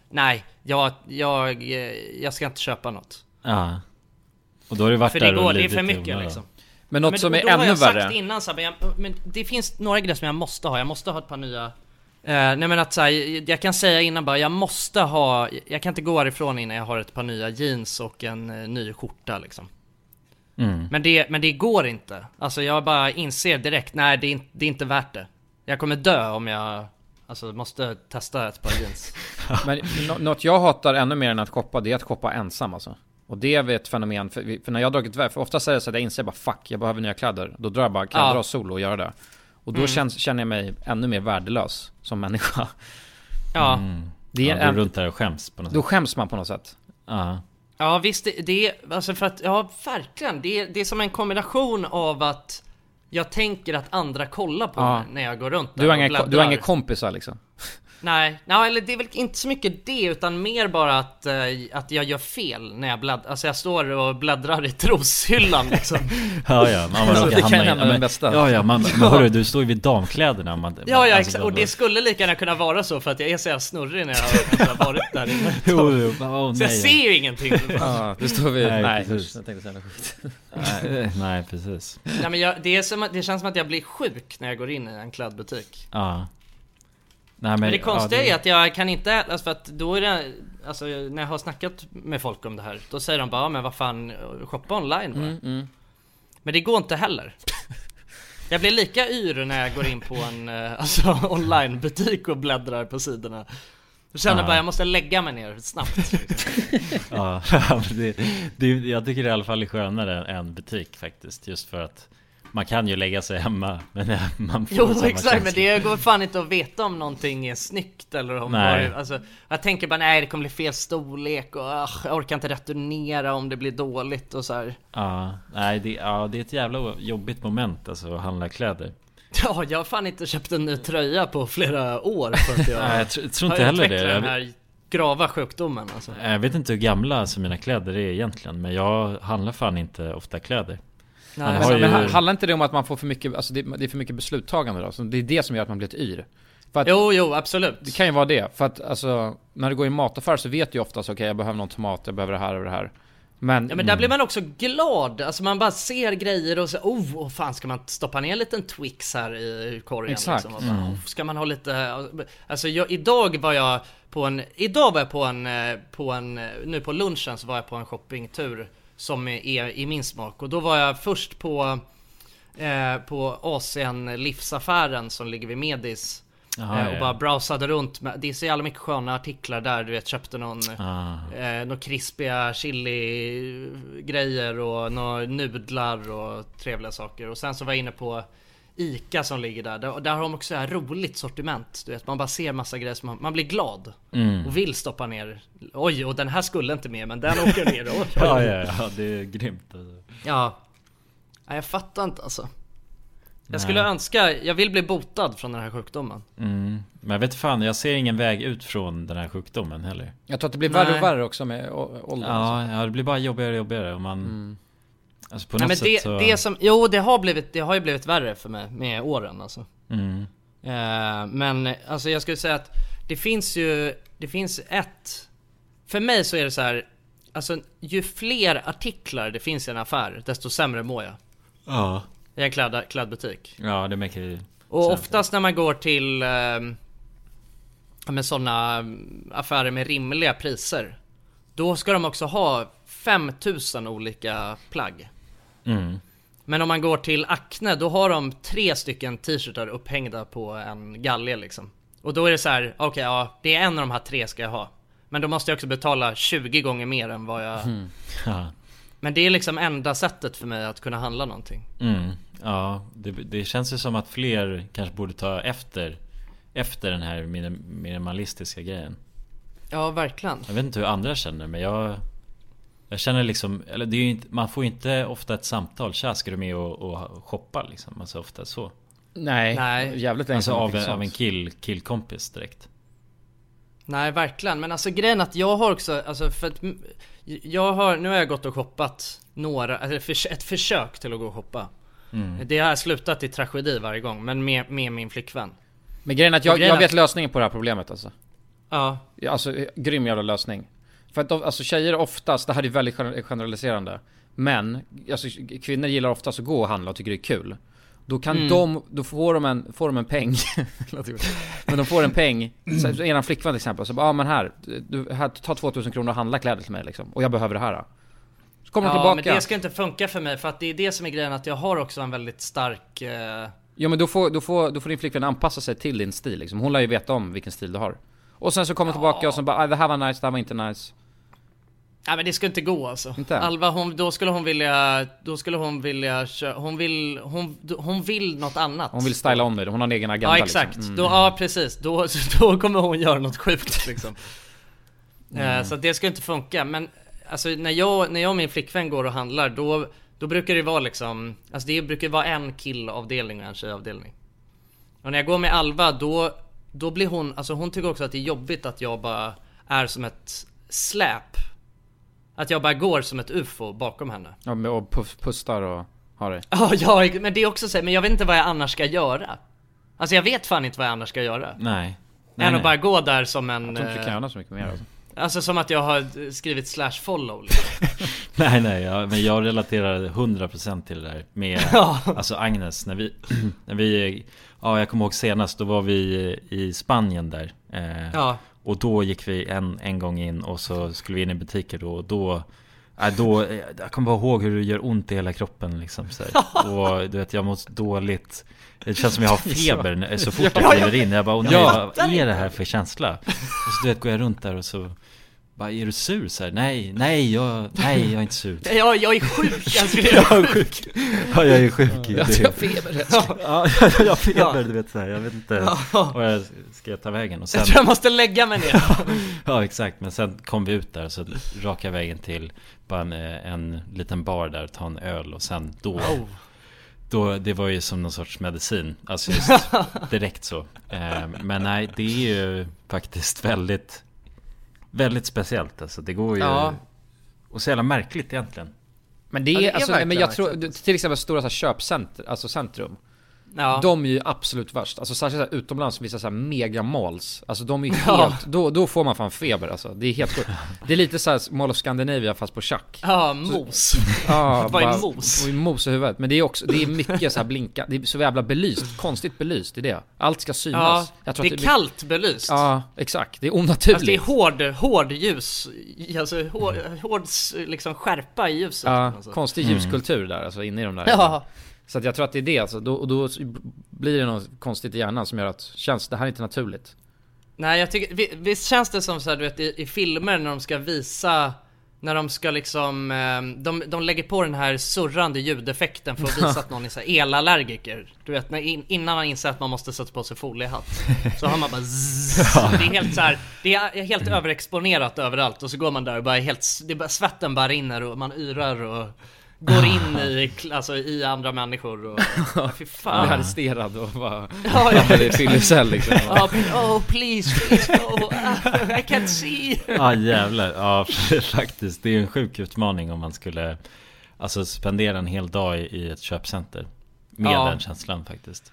B: Nej, jag, jag, eh, jag ska inte köpa något.
C: Ja. Och då har du varit
B: För
C: där
B: det går,
C: och
B: det är
C: lidit
B: för
C: i
B: mycket
C: onödan.
B: liksom.
A: Men något
B: då-
A: som är
B: då har
A: ännu
B: jag
A: värre.
B: Sagt innan, så här, men, jag, men det finns några grejer som jag måste ha. Jag måste ha ett par nya. Eh, nej men att så här, jag- jag kan säga innan bara, jag måste ha. Jag kan inte gå härifrån innan jag har ett par nya jeans och en eh, ny skjorta liksom.
C: Mm.
B: Men det, men det går inte. Alltså jag bara inser direkt, nej det är, in- det är inte värt det. Jag kommer dö om jag, alltså måste testa ett par jeans.
A: Men nå- något jag hatar ännu mer än att shoppa, det är att shoppa ensam alltså. Och det är väl ett fenomen, för, vi- för när jag har dragit iväg, för oftast är det så att jag inser bara fuck, jag behöver nya kläder. Då drar jag bara, kan jag
B: Ja.
A: dra solo och göra det? Och då
B: Mm.
A: känns, känner jag mig ännu mer värdelös som människa.
B: Ja.
A: Det är
C: Ja, du
A: en,
C: går runt där och skäms på något
A: då
C: sätt.
A: skäms man på något sätt.
C: Ja.
B: Ja visst, det, det är, alltså för att, ja verkligen. Det är, det är som en kombination av att jag tänker att andra kollar på
A: Ja.
B: mig när jag går runt där
A: Du har,
B: och
A: inga, du
B: bläddrar.
A: har inga kompisar liksom.
B: Nej, nej eller det är väl inte så mycket det utan mer bara att, eh, att jag gör fel när jag bläddrar. Alltså jag står och bläddrar i troshyllan
A: [LAUGHS]
B: liksom.
C: Ja, ja, man
A: Alltså, det
C: hamna
A: kan
C: i-
A: hända
C: ja, men-
A: den bästa.
C: Ja,
B: [LAUGHS]
C: ja, man,
A: Ja.
C: men hörru, du står ju vid damkläderna. Man,
B: Ja, ja
C: alltså,
B: exakt. Och det skulle lika gärna kunna vara så för att jag är så jävla snurrig när jag
A: [LAUGHS]
B: har har varit där inne.
C: Jo, jo, bara, åh,
B: Så jag
C: nej.
B: ser ju ingenting.
A: Ja, det står vi... Nej,
C: Nej,
A: nej
C: precis.
A: jag tänkte säga något skit.
C: Nej, eh, nej, precis.
B: Nej men jag, det, är som, att- det känns som att jag blir sjuk när jag går in i en klädbutik.
C: Ja. Nej, men,
B: Men, det konstiga
C: ja, det-
B: är att jag kan inte, alltså för att då är det, alltså när jag har snackat med folk om det här, då säger de bara, "Ja, men vad fan, shoppa online bara.
A: Mm, mm.
B: Men det går inte heller. Jag blir lika yr när jag går in på en eh, alltså, onlinebutik och bläddrar på sidorna. Jag känner
C: Ja.
B: bara jag måste lägga mig ner snabbt.
C: Ja, [LAUGHS] men det, det, jag tycker det i alla fall är skönare än butik faktiskt. Just för att man kan ju lägga sig hemma. Men [LAUGHS] eh, man får
B: [LAUGHS] Jo
C: samma
B: exakt men
C: känsla.
B: det går fan inte att veta om någonting är snyggt eller om
C: Nej.
B: vad- alltså, Jag tänker bara nej det kommer bli fel storlek och ah, jag orkar inte returnera om det blir dåligt och så här.
C: Ja, nej, det, ja, det är ett jävla jobbigt moment alltså att handla kläder.
B: [LAUGHS] Ja, jag har fan inte köpt en ny tröja på flera år för att jag,
C: Nej, jag tr- jag tror
B: har
C: inte heller
B: utvecklat
C: det.
B: den här grava sjukdomen alltså.
C: Eh, Jag vet inte hur gamla alltså, mina kläder är egentligen. Men jag handlar fan inte ofta kläder.
A: Nej,
C: Man
A: men,
C: har ju-
A: men handlar inte det om att man får för mycket, alltså det, det är för mycket besluttagande då? Så det är det som gör att man blir ett yr. För att,
B: jo, jo, absolut.
A: Det kan ju vara det. För att alltså, när du går i en mataffär så vet du ju oftast, okej jag behöver någon tomat, jag behöver det här och det här. Men,
B: Ja men
C: Mm.
B: där blir man också glad, alltså man bara ser grejer och så oh, åh, fan ska man stoppa ner en liten Twix här i korgen
A: Exakt.
B: liksom? Och bara,
A: Mm.
B: "Oh, Ska man ha lite, alltså jag, idag var jag på en, idag var jag på en, eh, på en, eh, nu på lunchen så var jag på en shoppingtur som är i min smak och då var jag först på, eh, på Asien livsaffären som ligger vid Medis.
C: Jaha,
B: eh,
C: ja.
B: och bara browsade runt. med- Det är så jävla mycket sköna artiklar där. Du vet, köpte någon...
C: Ah.
B: Eh, några krispiga chili-grejer och några nudlar och trevliga saker. Och sen så var jag inne på Ica som ligger där. Där, där har de också så här roligt sortiment. Du vet, man bara ser massa grejer som man, man blir glad.
C: Mm.
B: Och vill stoppa ner. Oj, och den här skulle inte med, men den åker ner. Oj, oj, oj.
C: [LAUGHS] Ja, ja, ja, det är grymt. Alltså.
B: Ja. Nej, jag fattar inte alltså. Jag
C: Nej.
B: skulle önska, jag vill bli botad från den här sjukdomen.
C: Mm. Men jag vet fan, jag ser ingen väg ut från den här sjukdomen heller.
A: Jag tror att det blir
B: Nej.
A: värre och värre också med å- åldern.
C: Ja, ja, det blir bara jobbigare och jobbigare. Och man... Alltså på
B: Nej,
C: något
B: men
C: sätt
B: det,
C: så...
B: det som, jo det har blivit, det har ju blivit värre för mig med åren alltså.
C: Mm.
B: Eh, men alltså jag skulle säga att det finns ju, det finns ett... För mig så är det så här, alltså ju fler artiklar det finns i en affär, desto sämre mår jag.
C: Ja.
B: I en kläd, klädbutik.
C: Ja, det märker vi.
B: Och
C: Sen-
B: oftast när man går till ehm, ja, men sådana mm, affärer med rimliga priser. Då ska de också ha 5000 olika plagg.
C: Mm.
B: Men om man går till Acne, då har de tre stycken t-shirtar upphängda på en galge liksom. Och då är det så här, okej ja, det är en av de här tre ska jag ha. Men då måste jag också betala 20 gånger mer än vad jag...
C: Mm. [LAUGHS] Ja.
B: Men det är liksom enda sättet för mig att kunna handla någonting.
C: Mm. Ja, det, det känns ju som att fler kanske borde ta efter Efter den här minim- minimalistiska grejen
B: Ja, verkligen.
C: Jag vet inte hur andra känner men jag Jag känner liksom, eller det är ju inte, man får ju inte ofta ett samtal Tja, ska du med och, och shoppa liksom? Alltså ofta så
A: Nej, Nej. jävligt länge
C: Alltså
A: sedan man
C: av,
A: fick
C: en-
A: sånt.
C: av en kill, killkompis direkt
B: Nej, verkligen. Men alltså grejen att jag har också, alltså för att m- jag har, nu har jag gått och shoppat några, alltså ett förs- ett försök till att gå och shoppa.
A: Mm.
B: Det har slutat i tragedi varje gång, men med, med min flickvän.
A: Men grejen är att
B: Och
A: jag,
B: grejen
A: jag
B: att-
A: vet lösningen på det här problemet alltså.
B: Ja.
A: Alltså grym jävla lösning. För att de, alltså tjejer oftast, det här är väldigt gener- generaliserande. Men, alltså kvinnor gillar oftast att gå och handla och tycker det är kul. Då kan
P: Mm.
A: de, då får de en, får de en peng. [LAUGHS] Låter gott. men de får en peng. Så, så eran flickvän till exempel, så bara ah, men här, du, här, ta 2000 kronor och handla kläder till mig liksom. Och jag behöver det här. Så kommer de
B: ja,
A: tillbaka.
B: men det ska inte funka för mig för att det är det som är grejen att jag har också en väldigt stark... Eh,
A: Ja men då får, då, får, då får din flickvän anpassa sig till din stil liksom. Hon lär ju veta om vilken stil du har. Och sen så kommer hon tillbaka och så bara "Ah, det här var nice, det här var inte nice.
B: nej men det ska inte gå alltså.
A: Inte?
B: Alva hon, då skulle hon vilja, då skulle hon vilja kö- hon vill, hon, hon vill något annat.
A: Hon vill styla om dig, hon har en egen agenda
B: Ja exakt,
A: Liksom. Mm.
B: då, ja precis. Då, [LAUGHS] då kommer hon göra något sjukt liksom. Eh,
A: Mm.
B: Så att det ska inte funka. Men alltså, när, jag, när jag och min flickvän går och handlar då, då brukar det vara liksom, alltså det brukar vara en killavdelning och en tjejavdelning. Och när jag går med Alva då, då blir hon, alltså hon tycker också att det är jobbigt att jag bara är som ett släp. Att jag bara går som ett ufo bakom henne.
A: Ja, men- och puff, pustar och har det.
B: Ja, jag- men det är också så här, men jag vet inte vad jag annars ska göra. Alltså jag vet fan inte vad jag annars ska göra.
C: Nej
B: Än att bara gå där som en...
A: Jag tror inte du kan
B: eh,
A: göra så mycket mer alltså.
B: Alltså som att jag har skrivit slash follow liksom.
C: [LAUGHS] Nej nej, ja, men jag relaterar 100% till det där med
A: [LAUGHS]
C: alltså Agnes när vi, [CLEARS THROAT] när vi Ja jag kommer ihåg senast, då var vi i Spanien där eh,
B: Ja.
C: Och då gick vi en, en gång in och så skulle vi in i butiker då och då äh, då, eh, jag kommer bara ihåg hur det gör ont i hela kroppen liksom så här. Och du vet jag mår dåligt Det känns som jag har feber när- så fort jag
P: Ja, ja.
C: kliver in Jag bara, åh nej,
P: Jag
C: vad är det här för känsla? Och så du vet, går jag runt där och så bara, är du sur så här? Nej, nej, jag, nej, jag är inte sur
B: Jag, jag är sjuk, alltså. jag skulle
C: Jag är sjuk. Ja, jag är sjuk.
B: Jag
C: Det-
B: tror jag har feber.
C: Ja, jag har feber, du vet så här. Jag vet inte
B: Ja.
C: vad jag ska ta vägen. Och sen,
B: Jag tror jag måste lägga mig ner.
C: [LAUGHS] ja, exakt. Men sen kom vi ut där och så raka vägen till bara en, eh, en liten bar där och ta en öl och sen då...
B: Oh.
C: Då, det var ju som någon sorts medicin, alltså just direkt så. Eh, Men nej, det är ju faktiskt väldigt, väldigt speciellt alltså. Det går ju...
A: Ja.
C: Och så jävla märkligt egentligen.
A: Men det är,
C: Ja, det är
A: alltså,
C: verkligen
A: men jag tror, du- till exempel stora så här, köpcenter, alltså centrum.
B: Ja.
A: De är ju absolut värst. Alltså särskilt så här, utomlands, vissa så här mega malls. Alltså de är
B: [LAUGHS]
A: ju
B: Ja.
A: helt, då, då får man fan feber alltså. Det är helt sjukt. Det är lite såhär Mall of Scandinavia fast på tjack.
B: [LAUGHS] Ja, mos.
A: Ja,
B: Vad
A: bara-
B: är mos?
A: Och i mos i huvudet. Men det är också, det är mycket så här blinka, det är så jävla belyst, konstigt belyst i det. Allt ska
B: Ja,
A: synas.
B: det är
A: att
B: kallt belyst.
A: Ja, exakt. Det är
B: Alltså det är
A: onaturligt.
B: hård, hård ljus, alltså hård, hård liksom skärpa i ljuset.
A: Ja,
B: Alltså.
A: konstig ljuskultur där, alltså inne i de där.
B: Ja.
A: Så att jag tror att det är det alltså. då, och då blir det något konstigt i hjärnan som gör att, känns det här är inte naturligt.
B: Nej jag tycker, vi- visst känns det som så här, du vet i, i filmer när de ska visa när de ska liksom, eh, de, de lägger på den här surrande ljudeffekten för att visa att någon är så här elallergiker. Du vet när, in, innan man inser att man måste sätta på sig foliehatt. Så har man bara zzz, Det är helt så här, det är helt överexponerat överallt och så går man där och bara är helt, s- det är bara, svetten bara rinner och man yrar och går in i, kl- alltså, i andra människor och, ja, fy fan.
A: Blir arresterad och
B: [LAUGHS]
A: bara-
B: ja, ja,
A: hamnar i fyllecell
B: [LAUGHS]
A: liksom.
B: Ja, oh please, please no, Ah, I can't see.
C: Ja jävlar, ja [LAUGHS] faktiskt. Det är ju en sjuk utmaning om man skulle Alltså spendera en hel dag i- i ett köpcenter Med
B: Ja.
C: den känslan faktiskt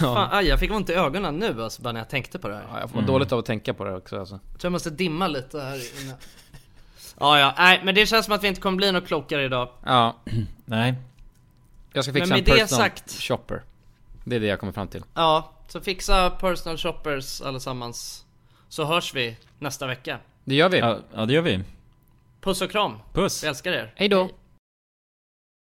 B: Fan, aj, jag fick ont i ögonen nu alltså, bara när jag tänkte på det här.
A: Jag får dåligt av att tänka på det också alltså.
B: Jag tror jag måste dimma lite här inne. Ja, ja, nej, men det känns som att vi inte kommer bli något klokare idag.
A: Ja.
C: Nej.
A: Jag ska fixa
B: Men
A: en
B: med det
A: personal
B: sagt-
A: shopper. Det är det jag kommer fram till.
B: Ja, så fixa personal shoppers allesammans. Så hörs vi nästa vecka.
A: Det gör vi.
C: Ja, ja det gör vi
B: Puss och kram.
C: Puss.
B: Vi älskar er.
A: Hej då.